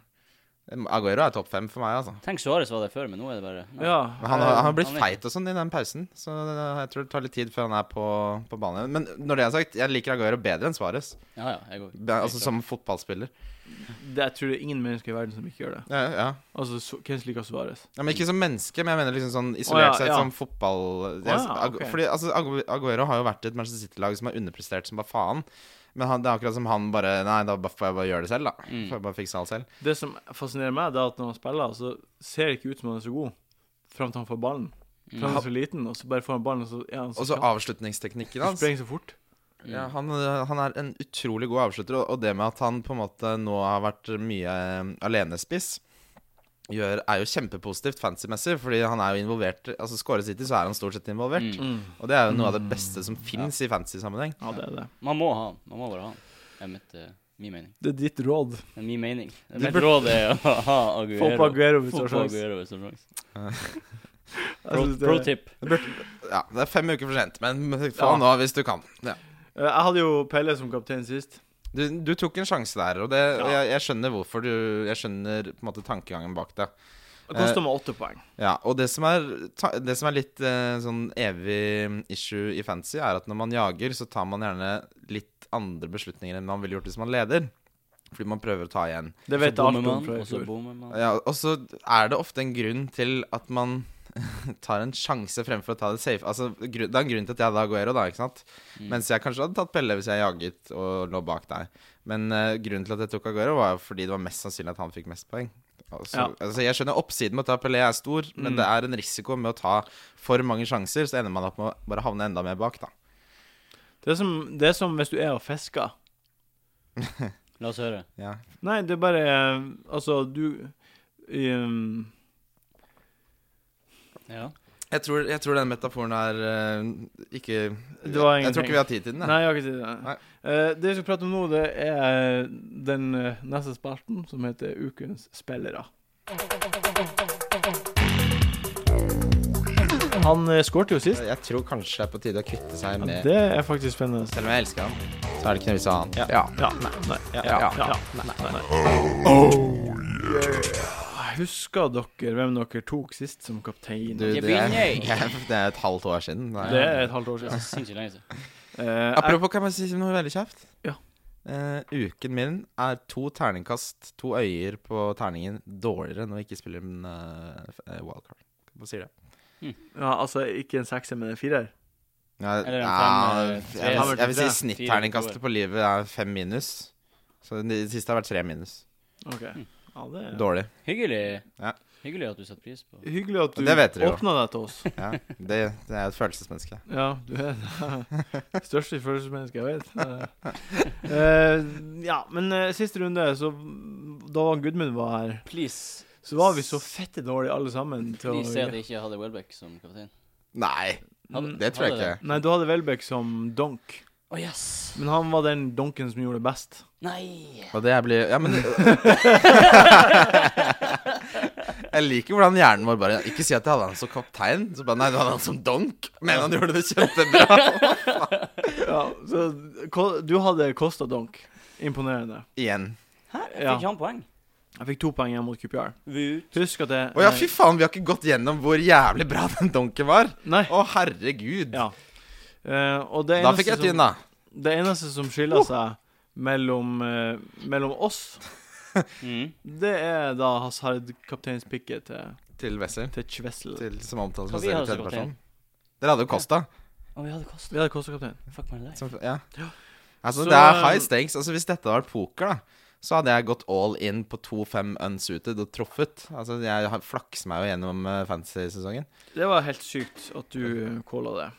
[SPEAKER 4] Aguero er topp fem for meg, altså.
[SPEAKER 1] god. Tenk Suárez var der før, men nå er det bare nei.
[SPEAKER 3] Ja.
[SPEAKER 4] Men han, har, han har blitt
[SPEAKER 1] han er-
[SPEAKER 4] feit og sånn i den pausen, så det- jeg tror det tar litt tid før han er på, på banen. Men når det er sagt, jeg liker Aguero bedre enn Svares.
[SPEAKER 1] Ja, ja, jeg går.
[SPEAKER 4] Altså som fotballspiller.
[SPEAKER 3] Eh, Det, jeg tror det er ingen mennesker i verden som ikke gjør det.
[SPEAKER 4] Ja, ja.
[SPEAKER 3] Altså, so, hvem som liker Suárez?
[SPEAKER 4] ja, Men ikke som menneske, men jeg mener liksom sånn
[SPEAKER 3] Å, ja,
[SPEAKER 4] isolert sett
[SPEAKER 3] ja.
[SPEAKER 4] som fotball... Jeg,
[SPEAKER 3] ja,
[SPEAKER 4] Agu-
[SPEAKER 3] ok.
[SPEAKER 4] Fordi altså, Agu- Aguero har jo vært i et Manchester City-lag som har underprestert som bare faen. Men han, det er akkurat som han bare Nei, da bare får jeg bare gjøre det selv, da.
[SPEAKER 1] Mm.
[SPEAKER 4] Får jeg bare fikse alt selv.
[SPEAKER 3] Det som fascinerer meg, det er at når han spiller, så ser det ikke ut som han er så god. Fram til han får ballen.
[SPEAKER 1] Mm.
[SPEAKER 3] For han er så liten, og så bare får han ballen, og så er han så
[SPEAKER 4] Og så
[SPEAKER 3] kjapp.
[SPEAKER 4] avslutningsteknikken
[SPEAKER 3] Han
[SPEAKER 4] hans.
[SPEAKER 3] sprenger så fort.
[SPEAKER 1] Mm.
[SPEAKER 4] Ja, han, han er en utrolig god avslutter, og- og det med at han på en måte nå har vært mye eh, alenespiss, gjør, er jo kjempepositivt fantasy-messig, fordi han er jo involvert Altså, skårer City, så er han stort sett involvert,
[SPEAKER 1] Mm.
[SPEAKER 4] og det er jo noe av det beste som fins i fantasy-sammenheng.
[SPEAKER 3] Ja, det er det.
[SPEAKER 1] Man må ha han. Man må bare ha han. Det er mitt, eh, min mening.
[SPEAKER 3] Det er ditt råd.
[SPEAKER 1] Det er min mening. Det er
[SPEAKER 4] Du
[SPEAKER 1] mitt
[SPEAKER 4] burde-
[SPEAKER 1] råd er å ha Aguero.
[SPEAKER 3] Få på Aguero hvis du
[SPEAKER 1] Få
[SPEAKER 3] har
[SPEAKER 1] på
[SPEAKER 3] sjanse.
[SPEAKER 1] Aguero hvis du har sjanse.
[SPEAKER 3] Jeg
[SPEAKER 1] Pro,
[SPEAKER 3] synes det-
[SPEAKER 1] pro tip.
[SPEAKER 4] Ja, det er fem uker for sent, men faen nå hvis du kan. Ja.
[SPEAKER 3] Eh, Jeg hadde jo Pelle som kaptein sist.
[SPEAKER 4] Du, du tok en sjanse der, og, det, og jeg, jeg skjønner hvorfor du Jeg skjønner på en måte tankegangen bak det.
[SPEAKER 3] Det
[SPEAKER 1] Eh,
[SPEAKER 3] kosta meg åtte poeng.
[SPEAKER 4] Ja, og det som er, ta, det som er litt eh, sånn evig issue i fantasy, er at når man jager, så tar man gjerne litt andre beslutninger enn man ville gjort hvis man leder. Fordi man prøver å ta igjen.
[SPEAKER 3] Det
[SPEAKER 1] Så
[SPEAKER 3] vet jeg alt
[SPEAKER 1] bommer
[SPEAKER 3] om
[SPEAKER 1] man,
[SPEAKER 3] fra i
[SPEAKER 1] og så
[SPEAKER 3] fjor.
[SPEAKER 1] bommer man.
[SPEAKER 4] Ja, og så er det ofte en grunn til at man tar en sjanse fremfor å ta det safe. Altså, gru- det er en grunn til at jeg da går Aguero, da, ikke sant? Mens jeg kanskje hadde tatt Pelle hvis jeg jaget og lå bak deg. Men eh, grunnen til at jeg tok Aguero, var jo fordi det var mest sannsynlig at han fikk mest poeng. Altså,
[SPEAKER 3] Ja.
[SPEAKER 4] altså, jeg skjønner oppsiden med å ta Pelé er stor, men det er en risiko med å ta for mange sjanser. Så ender man opp med å bare havne enda mer bak, da.
[SPEAKER 3] Det er, som, det er som hvis du er og fisker.
[SPEAKER 1] La oss høre.
[SPEAKER 4] Ja.
[SPEAKER 3] Nei, det er bare eh, Altså, du ehm,
[SPEAKER 1] Ja.
[SPEAKER 4] Jeg, tror, jeg tror den metaforen er eh, ikke
[SPEAKER 3] Det var
[SPEAKER 4] Jeg tror
[SPEAKER 3] ingenting.
[SPEAKER 4] ikke vi har tid til den. jeg.
[SPEAKER 3] Nei, jeg har ikke tid til det.
[SPEAKER 4] Nei.
[SPEAKER 3] Eh, det vi skal prate om nå, det er den eh, neste spalten, som heter Ukens spillere. Han uh, skårte jo sist.
[SPEAKER 4] Jeg tror kanskje det er på tide å kvitte seg med
[SPEAKER 3] Det er faktisk spennende.
[SPEAKER 4] Selv om jeg elsker han, så er det ikke noe vits i å ha han. Ja.
[SPEAKER 3] Ja, nei, nei, ja, ja, ja, nei, nei. Husker dere hvem dere tok sist som kaptein?
[SPEAKER 4] Du,
[SPEAKER 1] Jeg
[SPEAKER 4] det, er,
[SPEAKER 1] begynner.
[SPEAKER 4] det er et halvt år siden. da.
[SPEAKER 3] det er et halvt år siden.
[SPEAKER 1] Sinnssykt lenge siden.
[SPEAKER 3] Eh, jeg,
[SPEAKER 4] Apropos, kan jeg si noe veldig kjapt?
[SPEAKER 3] Ja.
[SPEAKER 4] Eh, uken min er to terningkast, to øyer på terningen, dårligere når vi ikke spiller en eh, f- eh, wildcard. Hva sier det?
[SPEAKER 3] ja, altså, ikke en sekser, men en firer.
[SPEAKER 4] Ja,
[SPEAKER 1] Eller en
[SPEAKER 4] ja,
[SPEAKER 1] fem, eh,
[SPEAKER 4] jeg,
[SPEAKER 1] tre.
[SPEAKER 4] jeg, jeg vil si
[SPEAKER 1] Fire,
[SPEAKER 4] snitterningkastet
[SPEAKER 1] toer.
[SPEAKER 4] på livet er fem minus. Så det siste har vært tre minus.
[SPEAKER 3] Ok. Ja, det er
[SPEAKER 4] Mm. Dårlig.
[SPEAKER 1] Hyggelig.
[SPEAKER 4] Ja.
[SPEAKER 1] Hyggelig at du setter pris på.
[SPEAKER 3] Hyggelig at
[SPEAKER 4] Det vet
[SPEAKER 3] du
[SPEAKER 4] dere jo.
[SPEAKER 3] åpna deg til oss.
[SPEAKER 4] Ja, det, det er jo et følelsesmenneske.
[SPEAKER 3] Ja, du er det største følelsesmennesket jeg vet. Eh, ja, men eh, siste runde, så da Gudmund var her,
[SPEAKER 1] Please,
[SPEAKER 3] så var vi så fette dårlige alle sammen. Til
[SPEAKER 1] please si at
[SPEAKER 3] å,
[SPEAKER 1] jeg ikke hadde Welbeck som kaptein.
[SPEAKER 4] Nei,
[SPEAKER 1] Hadde-
[SPEAKER 4] det tror jeg
[SPEAKER 1] hadde
[SPEAKER 4] ikke.
[SPEAKER 1] det?
[SPEAKER 3] Mm, nei, du hadde Welbeck som donk,
[SPEAKER 1] Å, yes!
[SPEAKER 3] men han var den donken som gjorde det best.
[SPEAKER 1] Nei!
[SPEAKER 4] Og det blir Ja, men Jeg liker hvordan hjernen vår bare Ikke si at jeg hadde han som kaptein. Så bare, Nei, du hadde han som donk. Men han gjorde det kjempebra.
[SPEAKER 3] Ja, så ko- du hadde Kosta donk. Imponerende.
[SPEAKER 4] Igjen.
[SPEAKER 1] Hæ? Fikk
[SPEAKER 3] Ja.
[SPEAKER 1] han poeng?
[SPEAKER 3] Jeg fikk to poeng igjen mot QPR.
[SPEAKER 1] Vut.
[SPEAKER 3] Husk at jeg
[SPEAKER 4] Å ja, fy faen, vi har ikke gått gjennom hvor jævlig bra den donken var.
[SPEAKER 3] Nei.
[SPEAKER 4] Å, herregud.
[SPEAKER 3] Ja. Eh, og det
[SPEAKER 4] Da
[SPEAKER 3] eneste
[SPEAKER 4] fikk jeg Uh!
[SPEAKER 3] som-
[SPEAKER 4] tynn, da.
[SPEAKER 3] Det eneste som skiller seg mellom, eh, mellom oss,
[SPEAKER 1] Mm.
[SPEAKER 3] det er da Hazard kapteinspikket til,
[SPEAKER 4] Til Wessel.
[SPEAKER 3] til Kvessel.
[SPEAKER 4] Til, som omtales
[SPEAKER 1] Hva
[SPEAKER 4] som
[SPEAKER 1] vi hadde
[SPEAKER 4] selv
[SPEAKER 1] som
[SPEAKER 4] tredjeperson. Dere hadde jo Costa.
[SPEAKER 1] Å, vi hadde kost.
[SPEAKER 3] Vi hadde Kosta-kaptein.
[SPEAKER 1] Fuck meg deg.
[SPEAKER 4] Som, ja.
[SPEAKER 3] Så-
[SPEAKER 4] Altså,
[SPEAKER 3] um,
[SPEAKER 4] det er high stakes. Altså, hvis dette hadde vært poker, da, så hadde jeg gått all in på 2-5 unsuited og truffet. Altså, jeg har- flakser meg jo gjennom eh, fantasy-sesongen.
[SPEAKER 3] Det var helt sykt at du calla det.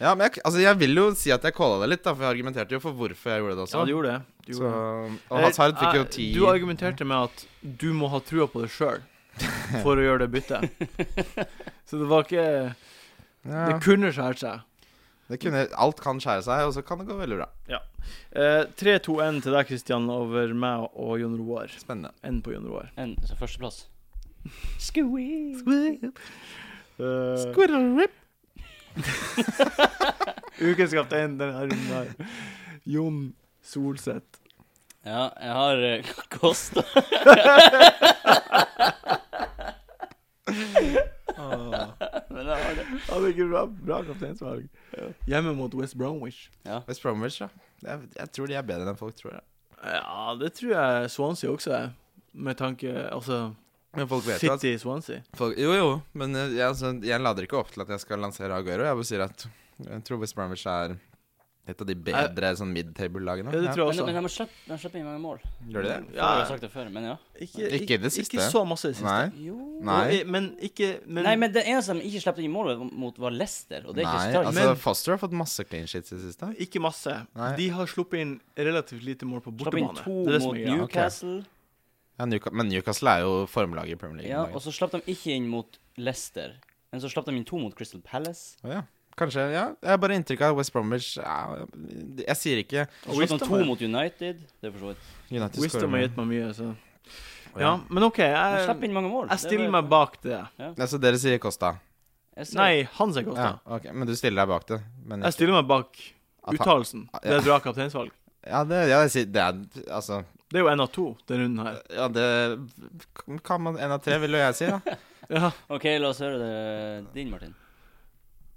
[SPEAKER 4] Ja, men jeg, altså, jeg vil jo si at jeg calla det litt, da, for jeg argumenterte jo for hvorfor jeg gjorde det også.
[SPEAKER 3] Ja, du gjorde det. Du,
[SPEAKER 4] så,
[SPEAKER 3] gjorde det.
[SPEAKER 4] og Hazard fikk jo
[SPEAKER 3] Eh,
[SPEAKER 4] 10
[SPEAKER 3] Du argumenterte med at du må ha trua på det sjøl for å gjøre det byttet. Så det var ikke Det
[SPEAKER 4] ja,
[SPEAKER 3] kunne skåret seg.
[SPEAKER 4] det kunne, Alt kan skjære seg, og så kan det gå veldig bra.
[SPEAKER 3] Eh, 3-2-1 til deg, Kristian, over meg og Jon Roar.
[SPEAKER 4] Spennende.
[SPEAKER 3] N på Jon Roar.
[SPEAKER 1] En så førsteplass. Squeeze.
[SPEAKER 3] Eh,
[SPEAKER 4] Squirrel rip.
[SPEAKER 3] Ukens kaptein denne runden her. Jon Solseth.
[SPEAKER 1] Ja, jeg har eh, Kosta. Men jeg har det.
[SPEAKER 3] Han er ikke bra, bra kapteinsvalg. Hjemme mot West Bromwich.
[SPEAKER 1] Ja.
[SPEAKER 4] West Bromwich, da. Jeg, jeg tror de er bedre enn folk tror. Jeg.
[SPEAKER 3] Ja, det tror jeg Swansea også er. Med tanke Altså,
[SPEAKER 4] Men folk vet jo at
[SPEAKER 3] City Swansea.
[SPEAKER 4] folk, Jo, jo, men eh, jeg, altså, jeg lader ikke opp til at jeg skal lansere Aguero. Jeg bare sier at jeg tror West Bromwich er et av de bedre sånn midtable-lagene.
[SPEAKER 3] Ja, det
[SPEAKER 1] Men,
[SPEAKER 3] tror jeg også.
[SPEAKER 1] men de har sluppet- de har sluppet inn mange mål.
[SPEAKER 4] Gjør de det?
[SPEAKER 1] Jeg
[SPEAKER 3] Ja.
[SPEAKER 1] har sagt det før, men ja.
[SPEAKER 3] Ikke,
[SPEAKER 4] Ikke i det siste.
[SPEAKER 3] Ikke så masse i det siste.
[SPEAKER 4] Nei.
[SPEAKER 1] Jo.
[SPEAKER 4] Nei.
[SPEAKER 3] Og i- Men ikke men,
[SPEAKER 1] Nei, men det eneste de ikke slapp inn mål mot, var Leicester, og det er
[SPEAKER 4] Nei,
[SPEAKER 1] ikke Stars.
[SPEAKER 4] altså
[SPEAKER 3] Men-
[SPEAKER 4] Foster har fått masse clean shits i det siste.
[SPEAKER 3] Ikke masse.
[SPEAKER 4] Nei.
[SPEAKER 3] De har sluppet inn relativt lite mål på
[SPEAKER 1] Slapp inn
[SPEAKER 3] bortebane.
[SPEAKER 1] to
[SPEAKER 3] Det er det som
[SPEAKER 1] mot
[SPEAKER 3] er greia.
[SPEAKER 1] Newcastle,
[SPEAKER 4] Ja, Newca- men Newcastle er jo formelaget i Premier League.
[SPEAKER 1] ja,
[SPEAKER 4] om dagen.
[SPEAKER 1] og så slapp de ikke inn mot Leicester. Men så slapp de inn to mot Crystal Palace.
[SPEAKER 4] Å ja. Kanskje, ja. Jeg har bare inntrykk av West Bromwich ja, Jeg sier ikke
[SPEAKER 1] Og så slapp de
[SPEAKER 3] Wisdom
[SPEAKER 1] to
[SPEAKER 3] er-
[SPEAKER 1] mot United. Det er for så vidt.
[SPEAKER 4] United
[SPEAKER 3] Wisdom har
[SPEAKER 4] scorer.
[SPEAKER 3] gitt meg mye, så
[SPEAKER 4] Å
[SPEAKER 3] Ja, men OK.
[SPEAKER 1] De slapp
[SPEAKER 3] Jeg,
[SPEAKER 1] inn mange mål.
[SPEAKER 3] jeg
[SPEAKER 1] Det
[SPEAKER 3] stiller
[SPEAKER 1] var-
[SPEAKER 3] meg bak det.
[SPEAKER 4] Ja, så Altså, dere sier Costa.
[SPEAKER 1] Jeg ser-
[SPEAKER 3] Nei, han sier Kosta.
[SPEAKER 4] Ja, ok, Men du stiller deg bak det? Men
[SPEAKER 3] Jeg stiller meg bak
[SPEAKER 4] At han-
[SPEAKER 3] uttalelsen. Det er et bra kapteinsvalg.
[SPEAKER 4] ja, det, ja, jeg sier, det er altså
[SPEAKER 3] Det er jo én av to, den runden her.
[SPEAKER 4] Ja, det kan man En av tre, vil jo jeg si, da.
[SPEAKER 3] Ja,
[SPEAKER 1] OK, la oss høre det din, Martin.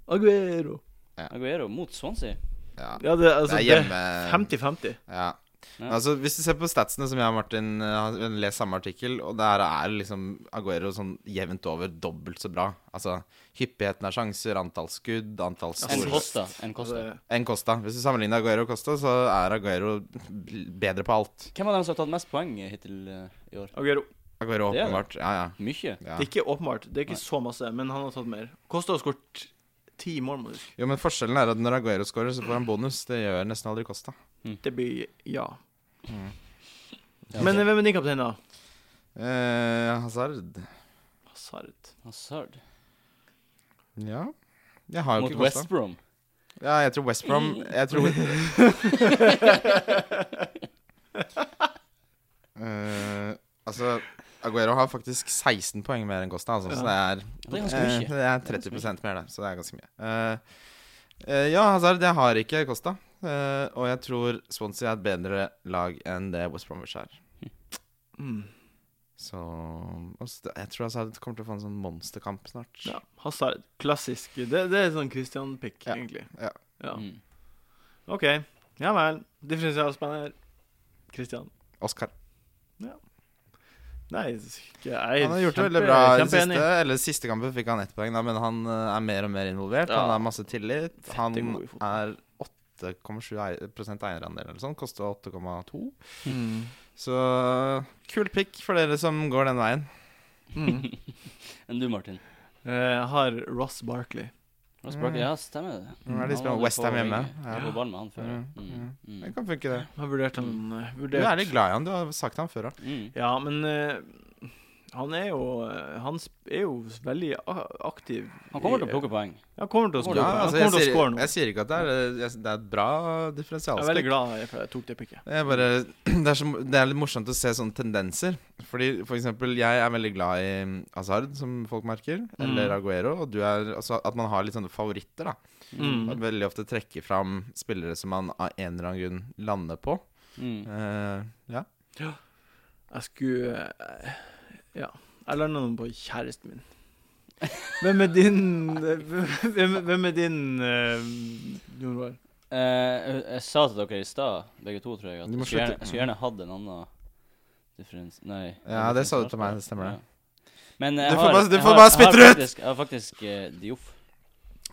[SPEAKER 3] Aguero.
[SPEAKER 1] Aguero mot Swansea.
[SPEAKER 4] Ja,
[SPEAKER 3] Ja, det,
[SPEAKER 4] det
[SPEAKER 3] altså,
[SPEAKER 4] er
[SPEAKER 3] det er
[SPEAKER 4] hjemme eh,
[SPEAKER 3] 50-50.
[SPEAKER 4] Ja.
[SPEAKER 1] Ja.
[SPEAKER 4] Altså, hvis du ser på statsene som jeg og Martin eh, har lest samme artikkel, og der er liksom Aguero sånn jevnt over dobbelt så bra. Altså hyppigheten av sjanser, antall skudd, antall
[SPEAKER 1] En
[SPEAKER 4] store
[SPEAKER 1] Costa. En Costa.
[SPEAKER 3] Altså,
[SPEAKER 4] Enn Costa. Hvis du sammenligner Aguero og Costa, så er Aguero b- bedre på alt.
[SPEAKER 1] Hvem av dem som har tatt mest poeng hittil eh, i år?
[SPEAKER 3] Aguero.
[SPEAKER 4] Aguero
[SPEAKER 1] Det er det.
[SPEAKER 4] åpenbart. Ja, ja.
[SPEAKER 1] Mye.
[SPEAKER 4] ja.
[SPEAKER 3] Det er ikke åpenbart. Det er ikke så masse, men han har tatt mer. Kosta har skåret ti mål, må du huske.
[SPEAKER 4] Jo, men forskjellen er at når Aguero scorer, så får han bonus. Det gjør nesten aldri Costa.
[SPEAKER 3] Det blir ja.
[SPEAKER 1] Ja,
[SPEAKER 3] Men
[SPEAKER 1] altså,
[SPEAKER 3] hvem er din kaptein, da?
[SPEAKER 4] Eh, Hazard
[SPEAKER 3] Hazard.
[SPEAKER 1] Hazard.
[SPEAKER 4] Ja. Jeg har jo
[SPEAKER 1] Mot
[SPEAKER 4] ikke Costa.
[SPEAKER 1] West Brom.
[SPEAKER 4] Ja, jeg tror West Brom Jeg tror Eh, Altså, Aguero har faktisk 16 poeng mer enn Costa, altså, så det er
[SPEAKER 1] Det er ganske
[SPEAKER 4] Eh,
[SPEAKER 1] mye.
[SPEAKER 4] Det er 30 mer, det. Så det er ganske mye. Eh, eh, ja, Hazard, jeg har ikke Costa. Eh, og jeg tror Swansea er et bedre lag enn det West Bromwich er.
[SPEAKER 3] Mm.
[SPEAKER 4] Så og s- Jeg tror Hazard kommer til å få en sånn monsterkamp snart.
[SPEAKER 3] Ja, Hazard. Klassisk. Det, det er sånn Christian-pick,
[SPEAKER 4] Ja.
[SPEAKER 3] egentlig.
[SPEAKER 4] Ja.
[SPEAKER 3] Ja.
[SPEAKER 1] Mm.
[SPEAKER 3] OK. Ja vel. Differensialspenner. Christian.
[SPEAKER 4] Oscar.
[SPEAKER 3] Nei, ikke jeg. er
[SPEAKER 4] Han har gjort det
[SPEAKER 3] kjempe-
[SPEAKER 4] veldig bra i det
[SPEAKER 3] kjempeenig.
[SPEAKER 4] siste. Eller siste kampen fikk han ett poeng, da, men han eh, er mer og mer involvert.
[SPEAKER 3] Ja.
[SPEAKER 4] Han har masse tillit. Han
[SPEAKER 3] Fette god i
[SPEAKER 4] er 8,7 ei- eierandel eller sånn. Koster 8,2.
[SPEAKER 3] Mm.
[SPEAKER 4] Så kul pick for dere som går den veien.
[SPEAKER 3] Mm.
[SPEAKER 1] Enn du, Martin?
[SPEAKER 3] Eh, Jeg har Ross Barkley.
[SPEAKER 1] Ross
[SPEAKER 4] Mm.
[SPEAKER 1] Barkley, ja, stemmer det.
[SPEAKER 4] Mm, det er de
[SPEAKER 1] Han
[SPEAKER 4] som har
[SPEAKER 1] hadde
[SPEAKER 4] West Ham
[SPEAKER 1] på-
[SPEAKER 4] hjemme.
[SPEAKER 1] Jeg var på ballen med han før.
[SPEAKER 4] Mm,
[SPEAKER 1] Mm.
[SPEAKER 4] Det
[SPEAKER 1] Mm.
[SPEAKER 4] kan funke, det.
[SPEAKER 3] Jeg har vurdert han eh,
[SPEAKER 4] Du er
[SPEAKER 3] vurdert.
[SPEAKER 4] litt glad i han, du har sagt han før òg.
[SPEAKER 1] Mm.
[SPEAKER 3] Ja, men eh, han er jo eh, Han sp- er jo veldig a- aktiv.
[SPEAKER 1] Han kommer til å plukke poeng.
[SPEAKER 3] Han kommer til
[SPEAKER 1] Han kommer til
[SPEAKER 3] å score.
[SPEAKER 1] å-
[SPEAKER 3] Han
[SPEAKER 4] altså,
[SPEAKER 3] kommer
[SPEAKER 4] jeg,
[SPEAKER 3] til å score
[SPEAKER 4] sier,
[SPEAKER 3] nå.
[SPEAKER 4] jeg sier ikke at det er jeg, Det er et bra
[SPEAKER 3] Jeg er veldig
[SPEAKER 4] differensialspill.
[SPEAKER 3] glad jeg- for jeg tok det picket.
[SPEAKER 4] Det er, bare, det, er så, det er litt morsomt å se sånne tendenser. Fordi for eksempel, jeg er veldig glad i mm, Hazard, som folk merker,
[SPEAKER 3] Mm.
[SPEAKER 4] eller Aguero. Og du er, altså, at man har litt sånne favoritter. da
[SPEAKER 3] Mm.
[SPEAKER 4] At Veldig ofte trekker fram spillere som man av en eller annen grunn lander på.
[SPEAKER 1] Mm.
[SPEAKER 4] Eh, ja.
[SPEAKER 3] Jeg skulle eh, Ja. Jeg landa nå på kjæresten min. Hvem er din eh, Hvem, hvem er din eh, Jon Roar?
[SPEAKER 1] Eh, jeg, jeg sa til dere i stad, begge to, tror jeg, at
[SPEAKER 4] Du må
[SPEAKER 1] jeg skulle
[SPEAKER 4] slutte.
[SPEAKER 1] gjerne, jeg skulle gjerne hatt en annen differens... Nei.
[SPEAKER 4] Ja, det sa du til meg, det stemmer det.
[SPEAKER 1] Ja. Men jeg
[SPEAKER 4] Du får
[SPEAKER 1] har,
[SPEAKER 4] bare- du
[SPEAKER 1] jeg
[SPEAKER 4] får
[SPEAKER 1] har-
[SPEAKER 4] bare
[SPEAKER 1] jeg har
[SPEAKER 4] spytte det ut!
[SPEAKER 1] faktisk- Jeg har faktisk eh, Dioff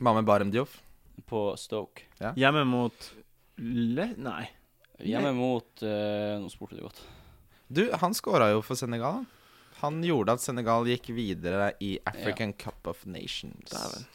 [SPEAKER 4] Mamma Barem Dioff.
[SPEAKER 1] på Stoke.
[SPEAKER 3] Hjemme mot Le... Nei.
[SPEAKER 1] Hjemme mot eh, Nå spurte du godt.
[SPEAKER 4] Du, han skåra jo for Senegal. Han gjorde at Senegal gikk videre i African Cup of Nations.
[SPEAKER 3] Dæven.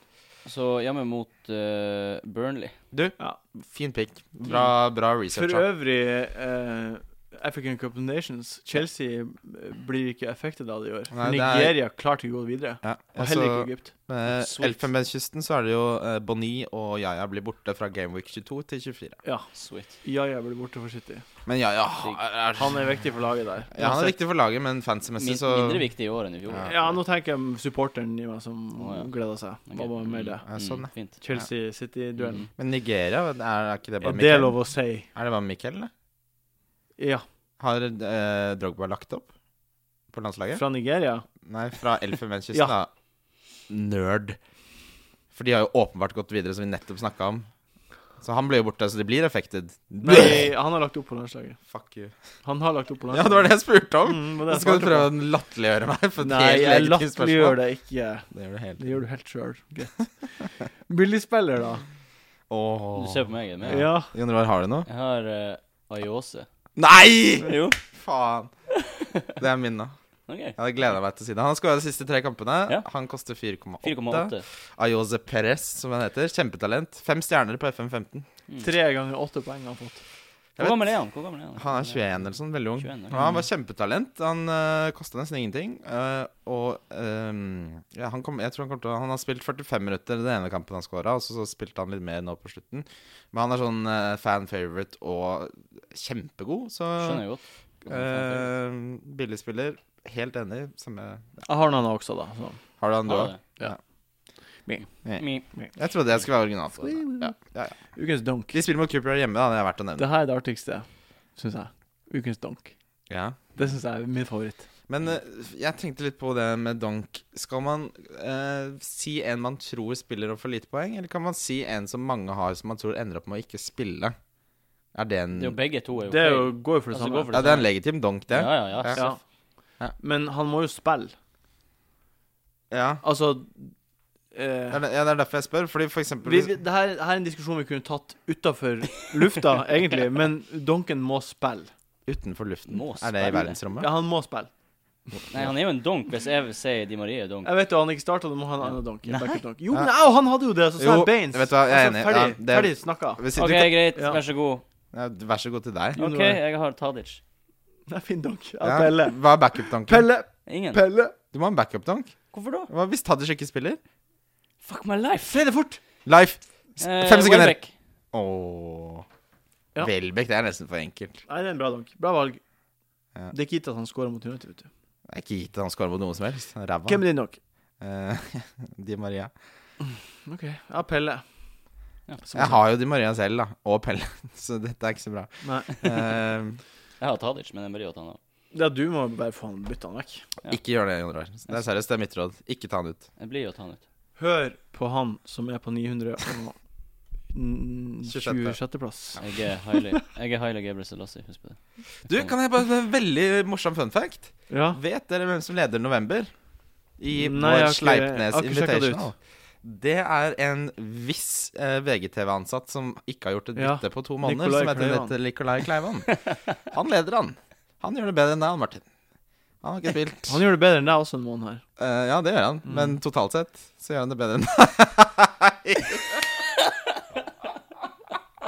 [SPEAKER 1] Så hjemme mot eh, Burnley.
[SPEAKER 4] Du,
[SPEAKER 3] Ja.
[SPEAKER 4] fin pick.
[SPEAKER 3] Mm.
[SPEAKER 4] Bra, bra research.
[SPEAKER 3] For
[SPEAKER 4] da.
[SPEAKER 3] øvrig eh, African Cup of Nations Chelsea eh, blir ikke affektet av det i år.
[SPEAKER 4] Nei, det er-
[SPEAKER 3] Nigeria klarte ikke å gå videre.
[SPEAKER 4] Ja, altså-
[SPEAKER 3] Og
[SPEAKER 4] jeg
[SPEAKER 3] heller
[SPEAKER 4] så-
[SPEAKER 3] ikke Egypt.
[SPEAKER 4] Med
[SPEAKER 1] Sweet.
[SPEAKER 4] Eh, Elfenbenskysten så er det jo eh, Bonny og Yaya blir borte fra Gameweek 22 til 24.
[SPEAKER 3] Ja,
[SPEAKER 1] Sweet.
[SPEAKER 3] Yaya ble borte for City.
[SPEAKER 4] Men Yaya er,
[SPEAKER 3] Han er viktig for laget der.
[SPEAKER 4] ja, han er viktig for laget, men fancy-messig
[SPEAKER 1] Min,
[SPEAKER 4] så
[SPEAKER 1] mindre viktig i år enn i fjor.
[SPEAKER 4] Ja.
[SPEAKER 3] Ja, nå tenker jeg supporteren i meg som
[SPEAKER 1] Å, ja.
[SPEAKER 3] gleder seg.
[SPEAKER 1] Ok. Mm,
[SPEAKER 3] Hva var med det?
[SPEAKER 4] Ja, sånn, ja.
[SPEAKER 1] fint.
[SPEAKER 3] Chelsea City-duellen.
[SPEAKER 1] Mm.
[SPEAKER 4] Men Nigeria, er, er ikke det bare
[SPEAKER 3] Er det
[SPEAKER 4] Mikkel?
[SPEAKER 3] lov å si?
[SPEAKER 4] Er det bare Mikkel, eller?
[SPEAKER 3] Ja.
[SPEAKER 4] Har eh, Drogba lagt opp på landslaget?
[SPEAKER 3] Fra Nigeria?
[SPEAKER 4] Nei, fra Elfenbenskysten,
[SPEAKER 3] Ja.
[SPEAKER 4] da. Nerd. For de har jo åpenbart gått videre, som vi nettopp snakka om. Så han ble jo borte, så de blir affected.
[SPEAKER 3] Nei, han har lagt opp på landslaget.
[SPEAKER 4] Fuck you.
[SPEAKER 3] Han har lagt opp på
[SPEAKER 4] Ja, det
[SPEAKER 3] landslaget.
[SPEAKER 4] var det jeg spurte om!
[SPEAKER 3] Mm, var det
[SPEAKER 4] Så
[SPEAKER 3] jeg
[SPEAKER 4] skal du
[SPEAKER 3] svarte
[SPEAKER 4] prøve
[SPEAKER 3] på.
[SPEAKER 4] å latterliggjøre meg for et
[SPEAKER 3] Nei,
[SPEAKER 4] helt
[SPEAKER 3] jeg
[SPEAKER 4] legitimt spørsmål.
[SPEAKER 3] latterliggjør det ikke.
[SPEAKER 4] Det gjør du helt.
[SPEAKER 3] Det gjør du helt sjøl. Greit. Billigspiller, da?
[SPEAKER 1] Du
[SPEAKER 4] Åh.
[SPEAKER 1] ser på meg, er det med?
[SPEAKER 3] Ja.
[SPEAKER 4] Jon Roar, har du noe?
[SPEAKER 1] Jeg har eh, Ayose.
[SPEAKER 4] Nei!
[SPEAKER 1] Jo.
[SPEAKER 4] Faen. Det er min, da.
[SPEAKER 1] Ok.
[SPEAKER 4] Jeg hadde gleda meg til å si det. Han har skåra de siste tre kampene.
[SPEAKER 1] Ja.
[SPEAKER 4] Han koster 4,8.
[SPEAKER 1] 4,8.
[SPEAKER 4] Ayose Perez, som han heter. Kjempetalent. Fem stjerner på FM15.
[SPEAKER 3] Mm. Tre ganger åtte poeng han har fått.
[SPEAKER 1] Mm. Hvor gammel er han? Hvor gammel er han?
[SPEAKER 4] Han er 21 eller sånn, veldig ung.
[SPEAKER 1] 21, ok.
[SPEAKER 4] ja, han var kjempetalent. Han uh, kosta nesten ingenting. eh, og ehm, ja, han, kom, jeg tror han, kommer til, å- han har spilt 45 minutter den ene kampen han scora, og så, så spilte han litt mer nå på slutten. Men han er sånn eh, fan favorite og kjempegod, så
[SPEAKER 1] Skjønner jeg godt.
[SPEAKER 4] eh, Billigspiller. Helt enig. Samme
[SPEAKER 3] Jeg har han også, da. Så.
[SPEAKER 4] Har du han, du
[SPEAKER 1] Ha
[SPEAKER 4] òg?
[SPEAKER 1] det.
[SPEAKER 3] Ja.
[SPEAKER 1] Mi.
[SPEAKER 4] Mi.
[SPEAKER 1] Mi.
[SPEAKER 4] Jeg trodde jeg skulle være original. på det. Ja, ja, ja.
[SPEAKER 3] Ukens donk.
[SPEAKER 4] De spiller mot Cooper hjemme, da. Det er verdt å nevne.
[SPEAKER 3] Det her er det artigste, syns jeg. Ukens donk.
[SPEAKER 4] Ja.
[SPEAKER 3] Det syns jeg er min favoritt.
[SPEAKER 4] Men eh, jeg tenkte litt på det med donk. Skal man eh, si en man tror spiller og får lite poeng, eller kan man si en som mange har som man tror ender opp med å ikke spille? Er det en
[SPEAKER 1] Det er jo begge to er jo
[SPEAKER 3] Det er
[SPEAKER 1] feil.
[SPEAKER 3] jo, går jo for det
[SPEAKER 1] Altså,
[SPEAKER 3] samme.
[SPEAKER 1] går for
[SPEAKER 4] Ja, det er en legitim donk, det.
[SPEAKER 1] Ja, ja, ja.
[SPEAKER 4] Ja.
[SPEAKER 1] ja.
[SPEAKER 3] Ja. Men han må jo spille.
[SPEAKER 4] Ja.
[SPEAKER 3] Altså
[SPEAKER 4] Det
[SPEAKER 3] eh,
[SPEAKER 4] er, ja, det er derfor jeg spør. Fordi for eksempel
[SPEAKER 3] vi, vi, det, her, det her er en diskusjon vi kunne tatt utafor lufta, egentlig, men Donken må spille.
[SPEAKER 4] utenfor luften
[SPEAKER 1] Må
[SPEAKER 4] Er det i
[SPEAKER 1] spille.
[SPEAKER 4] verdensrommet?
[SPEAKER 3] Ja, han må spille.
[SPEAKER 1] Nei, han er jo en donk, hvis jeg sier Di Maria er donk.
[SPEAKER 3] Jeg vet jo han ikke starta, du må ha en annen donk.
[SPEAKER 1] Nei.
[SPEAKER 3] backup donk. Jo,
[SPEAKER 4] Ja.
[SPEAKER 3] men au, han hadde jo det, så sa
[SPEAKER 4] Jo,
[SPEAKER 3] jeg Baines. Altså,
[SPEAKER 4] vet du hva, jeg er enig.
[SPEAKER 3] Ferdig,
[SPEAKER 4] Ja, det-
[SPEAKER 3] ferdig snakka.
[SPEAKER 4] Hvis
[SPEAKER 1] OK,
[SPEAKER 4] ikke du
[SPEAKER 1] greit,
[SPEAKER 3] ja.
[SPEAKER 1] vær så god.
[SPEAKER 4] ja, Vær så god til deg.
[SPEAKER 3] Jo,
[SPEAKER 1] OK,
[SPEAKER 3] nå er-
[SPEAKER 1] jeg har Tadic.
[SPEAKER 3] Nei, fin donk. Ja,
[SPEAKER 4] Ja.
[SPEAKER 3] Pelle.
[SPEAKER 4] Hva er backup-donken?
[SPEAKER 3] Pelle,
[SPEAKER 1] Ingen.
[SPEAKER 3] Pelle.
[SPEAKER 4] Du må ha en backup-donk.
[SPEAKER 1] Hvorfor da?
[SPEAKER 4] Hva hvis Tadic ikke spiller?
[SPEAKER 1] Fuck my life.
[SPEAKER 3] Si det fort.
[SPEAKER 4] Leif! S-
[SPEAKER 1] Eh,
[SPEAKER 4] Fem sekunder.
[SPEAKER 1] Welbeck.
[SPEAKER 4] Ååå.
[SPEAKER 3] Ja.
[SPEAKER 4] Welbeck, det er nesten for enkelt.
[SPEAKER 3] Nei, det er en bra donk. Bra valg.
[SPEAKER 4] Ja.
[SPEAKER 3] Det er ikke gitt at han scorer mot United, vet du.
[SPEAKER 4] Det er ikke gitt at han scorer på noe som helst. Ræva.
[SPEAKER 3] Hvem er din donk?
[SPEAKER 4] Eh, Di Maria.
[SPEAKER 3] OK. Ja, Pelle.
[SPEAKER 1] Ja.
[SPEAKER 3] Som
[SPEAKER 4] Jeg har jo Di Maria selv, da. Og Pelle. Så dette er ikke så bra.
[SPEAKER 3] Nei.
[SPEAKER 4] Eh,
[SPEAKER 1] Jeg har Tadic, men jeg bryr meg ikke om han.
[SPEAKER 3] Ja, du må bare få han bytte han vekk.
[SPEAKER 1] Ja.
[SPEAKER 4] ikke gjør det, Jon Roar. Det er seriøst, det er mitt råd. Ikke ta han ut.
[SPEAKER 1] Jeg blir jo å ta han ut.
[SPEAKER 3] Hør på han som er på 900 og mm,
[SPEAKER 4] 26.
[SPEAKER 3] 26. plass.
[SPEAKER 1] Jeg er Hailey Jeg er Hailey Gabriel Selassie, husk på det.
[SPEAKER 4] Du,
[SPEAKER 1] Sånn.
[SPEAKER 4] kan jeg bare En veldig morsom fun fact?
[SPEAKER 3] Ja.
[SPEAKER 4] Vet dere hvem som leder November? I
[SPEAKER 3] Nei, jeg
[SPEAKER 4] vår
[SPEAKER 3] har ikke- jeg
[SPEAKER 4] Sleipnes
[SPEAKER 3] har ikke sjekket det ut.
[SPEAKER 4] Invitational. Det er en viss eh, VGTV-ansatt som ikke har gjort et
[SPEAKER 3] Ja.
[SPEAKER 4] bytte på to måneder,
[SPEAKER 3] Nikolai
[SPEAKER 4] som heter
[SPEAKER 3] Kleivan.
[SPEAKER 4] Nette Nikolai Kleivan. Han leder han. Han gjør det bedre enn deg, han Martin. Han har ikke spilt.
[SPEAKER 3] Han gjør det bedre enn deg også en måned her.
[SPEAKER 4] Eh, ja, det gjør han,
[SPEAKER 3] Mm.
[SPEAKER 4] men totalt sett så gjør han det bedre enn deg.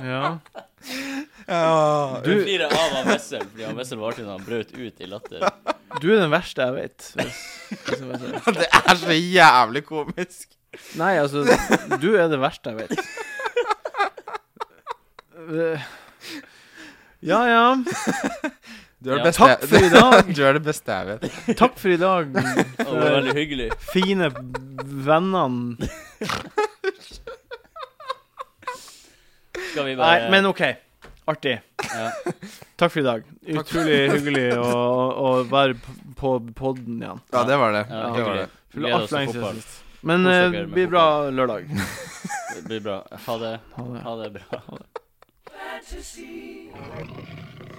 [SPEAKER 3] Ja.
[SPEAKER 4] Ja,
[SPEAKER 1] Du flirer av av Wessel fordi han Wessel var til da han brøt ut i latter.
[SPEAKER 3] Du er den verste jeg vet. hvis- hvis jeg vet det.
[SPEAKER 4] Det er så jævlig komisk.
[SPEAKER 3] Nei, altså, du er det verste jeg vet. Eh, Ja, ja.
[SPEAKER 4] Du er det
[SPEAKER 1] Ja.
[SPEAKER 4] beste
[SPEAKER 3] Takk for i dag.
[SPEAKER 4] Du er det beste jeg vet.
[SPEAKER 3] Takk for i dag,
[SPEAKER 1] Og det var veldig hyggelig.
[SPEAKER 3] fine vennene.
[SPEAKER 1] Skal vi bare
[SPEAKER 3] Nei, men OK. Artig.
[SPEAKER 1] ja.
[SPEAKER 3] Takk for i dag. Utrolig hyggelig å, å være p- på podden igjen.
[SPEAKER 4] Ja, det var det.
[SPEAKER 1] Ja,
[SPEAKER 4] det, var det.
[SPEAKER 1] hyggelig.
[SPEAKER 3] Skulle
[SPEAKER 1] Gleder oss
[SPEAKER 3] alt
[SPEAKER 1] til
[SPEAKER 3] lenge siden
[SPEAKER 1] fotball.
[SPEAKER 3] sist. Men
[SPEAKER 1] Kos
[SPEAKER 3] eh,
[SPEAKER 1] dere med
[SPEAKER 3] blir bra lørdag.
[SPEAKER 1] Det blir bra. Ha det.
[SPEAKER 3] Ha det.
[SPEAKER 1] Ha det bra.